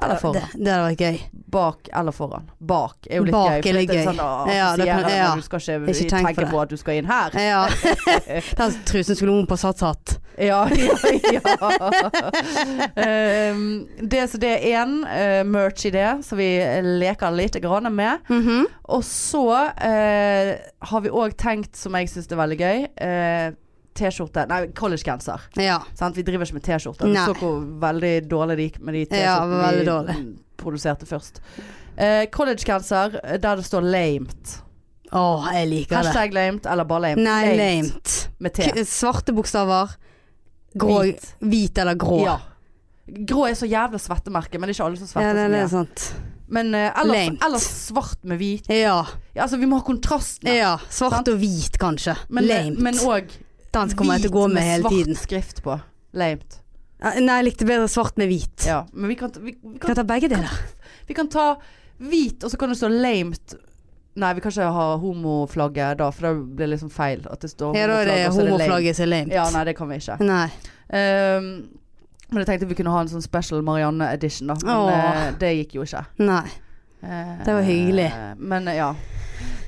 B: Eller
A: Det,
B: foran.
A: det hadde vært gøy.
B: Bak eller foran. Bak er jo litt
A: Bak
B: gøy. for
A: er litt
B: det
A: gøy.
B: Sånn, å,
A: Ja, det kan-
B: assosierer,
A: ja.
B: men Du skal ikke,
A: Ikke tenk
B: tenke
A: på det.
B: på, at du skal inn her. [LAUGHS]
A: Ja. Den trusen skulle hun på satt satt.
B: Ja, [LAUGHS] ja, ja. Eh, det, så det er én eh, merch-idé som vi leker lite grann med.
A: Mhm.
B: Og så eh, har vi òg tenkt, som jeg syns er veldig gøy, eh, T-skjorte Nei, collegegenser.
A: Ja.
B: Sant? Vi driver ikke med T-skjorter. Du
A: Nei.
B: så hvor veldig dårlig det gikk med de
A: Ja,
B: T-skjortene
A: veldig
B: vi
A: dårlig.
B: mm, produserte først. Eh, collegegenser eh, der det står 'lamet'.
A: Å, jeg liker det.
B: Hashtag 'lamet' eller bare 'lamet'.
A: Nei,
B: Lamet
A: lamet.
B: Med T.
A: K- Svarte bokstaver. Grå. Hvit,
B: Hvit.
A: eller grå.
B: Ja. Grå er så jævla svettemerke, men det er ikke alle som
A: Ja,
B: svetter
A: det, det altså. er
B: så mye.
A: sant.
B: Men eh, ellers,
A: Lamet.
B: ellers svart med hvit.
A: Ja.
B: Ja, altså, vi må ha kontrastene.
A: ja. Svart
B: Sant?
A: og hvit, kanskje.
B: Men- eh,
A: lamet.
B: Men òg
A: Den kommer jeg til å gå med hele tiden.
B: svart skrift på. Lamet.
A: Ja, Nei, jeg likte bedre svart med hvit.
B: Ja, men vi kan, ta- vi, vi,
A: Kan
B: kan,
A: jeg ta begge deler?
B: vi kan ta hvit, og så kan det stå lamet. Nei, vi kan ikke ha homoflagget da, for da blir det liksom feil. At det står
A: Ja, da er det
B: homoflagg, og så er det lamet.
A: homoflagget som er lamet.
B: Ja, nei, det kan vi ikke.
A: Nei.
B: Ehm, men jeg tenkte vi kunne ha en sånn special Marianne edition, da. Men
A: Åh.
B: eh, det gikk jo ikke.
A: Nei.
B: Eh,
A: Det var hyggelig.
B: Men eh, ja.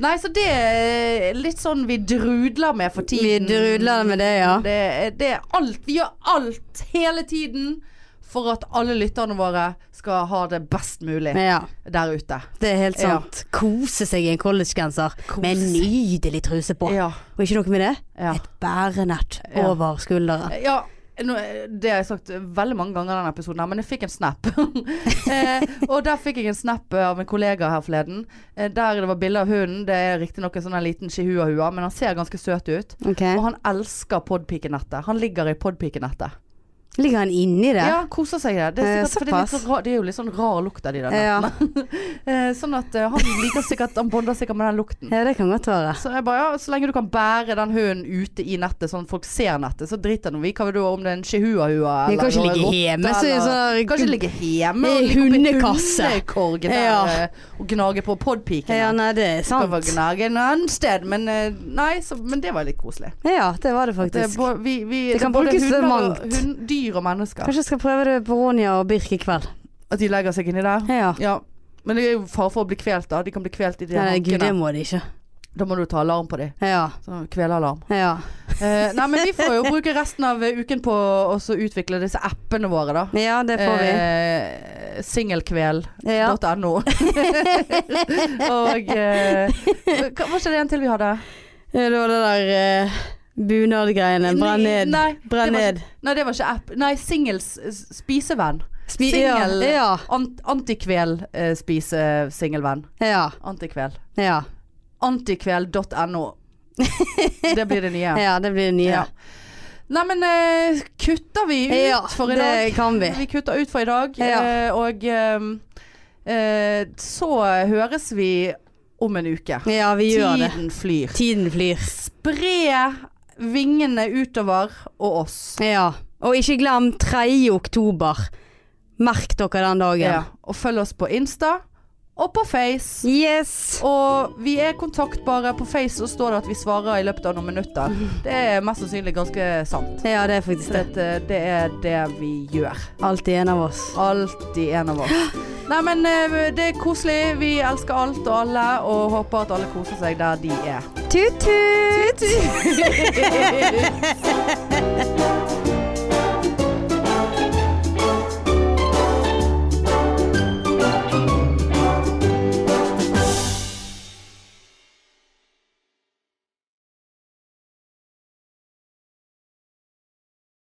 B: Nei, så det er litt sånn vi drudler med for
A: Vi
B: tiden.
A: drudler med det, ja.
B: Det, er- det er alt. Vi gjør alt hele tiden for at alle lytterne våre skal ha det best mulig
A: Ja,
B: der ute.
A: det er helt
B: Ja.
A: sant. Kose seg i en collegegenser
B: Kos.
A: med en nydelig truse på.
B: Ja.
A: Og ikke noe med det,
B: Ja.
A: et bærenett
B: Ja.
A: over skulderen.
B: Eh, ja nå, eh, det har jeg sagt veldig mange ganger i denne episoden, her, men jeg fikk en snap. [LAUGHS] eh, og der fikk jeg en snap eh, av en kollega her forleden. Eh, der det var bilde av hunden. Det er riktignok en sånn her liten chihuahua, men han ser ganske søt ut.
A: Ok.
B: Og han elsker podpikenettet. Han ligger i podpikenettet.
A: Ligger han inni det?
B: Ja, koser seg i det. Det er,
A: Eh,
B: sikkert, for det, er litt
A: såpass.
B: så rar, det er jo litt sånn rar lukt av de der
A: Ja.
B: nettene. [LAUGHS] Eh, sånn at eh, han liker sikkert Han bonder sikkert med den lukten.
A: Ja, det kan godt være.
B: Så jeg bare, ja, så lenge du kan bære den hunden ute i nettet, sånn at folk ser nettet, så driter nå vi hva da om det er en chihuahua
A: Vi kan ikke
B: en
A: ligge
B: rotte,
A: hjemme, så
B: eller-
A: sånn
B: Kan ikke ligge hjemme
A: I [LAUGHS]
B: og ligge oppi
A: hundekasse.
B: hundekorgen der
A: Ja.
B: eh, og gnage på podpikene.
A: Ja, nei, det er
B: kan være
A: sant.
B: gnage en annen sted, men eh, nei, så, men det var litt koselig.
A: Ja, det var det
B: Det, er
A: faktisk.
B: bo- vi, vi,
A: Det kan
B: er både
A: brukes til
B: hunder og-
A: mangt.
B: Hund, dyr og mennesker.
A: Kanskje jeg skal prøve det på Ronja og Birk i kveld.
B: At de legger seg inni der.
A: Ja.
B: Ja. Men det er jo fare for å bli kvelt, da. De kan bli kvelt i de
A: Nei, gud, det
B: hankene.
A: må de ikke.
B: Da må du ta alarm på dem.
A: Ja.
B: Sånn kvelealarm.
A: Ja.
B: Eh, nei, men vi får jo bruke resten av eh, uken på å også utvikle disse appene våre, da.
A: ja, det får vi.
B: Eh, Singelkvel.no.
A: Ja. [LAUGHS]
B: Og eh, hva- Var ikke det en til vi hadde?
A: Det var det der eh, bunadgreiene. Brenn ned.
B: Nei,
A: Brenn
B: det var
A: ned.
B: Nei, det var ikke app. Nei, singels s- spisevenn.
A: Spi-
B: Singel.
A: Ja.
B: Ant antikvel eh, spisesingelvenn.
A: Ja.
B: Antikvel.
A: Ja.
B: Antikvel.no. Det blir det nye.
A: [LAUGHS] ja, det blir det nye.
B: Ja. Nei, men eh, kutter vi ut
A: Ja,
B: for i dag?
A: det kan vi.
B: Vi kutter ut for i dag.
A: Ja.
B: eh, og eh, eh, så høres vi om en uke.
A: Ja, vi gjør det.
B: Tiden flyr.
A: Tiden flyr.
B: Spre vingene utover og oss.
A: Ja. Og ikke glem 3. oktober. Merk dere den dagen.
B: Ja. Og følg oss på Insta og på Face.
A: Yes.
B: Og vi er kontaktbare. På Face så står det at vi svarer i løpet av noen
A: [LAUGHS]
B: minutter. Det er mest sannsynlig ganske sant.
A: Ja, det er faktisk
B: For at,
A: det.
B: eh, det er det vi gjør.
A: Alltid en av oss.
B: Alltid en av oss. Nei, men eh, det er koselig. Vi elsker alt og alle, og håper at alle koser seg der de er.
A: Tut-tut!
B: Tut-tut!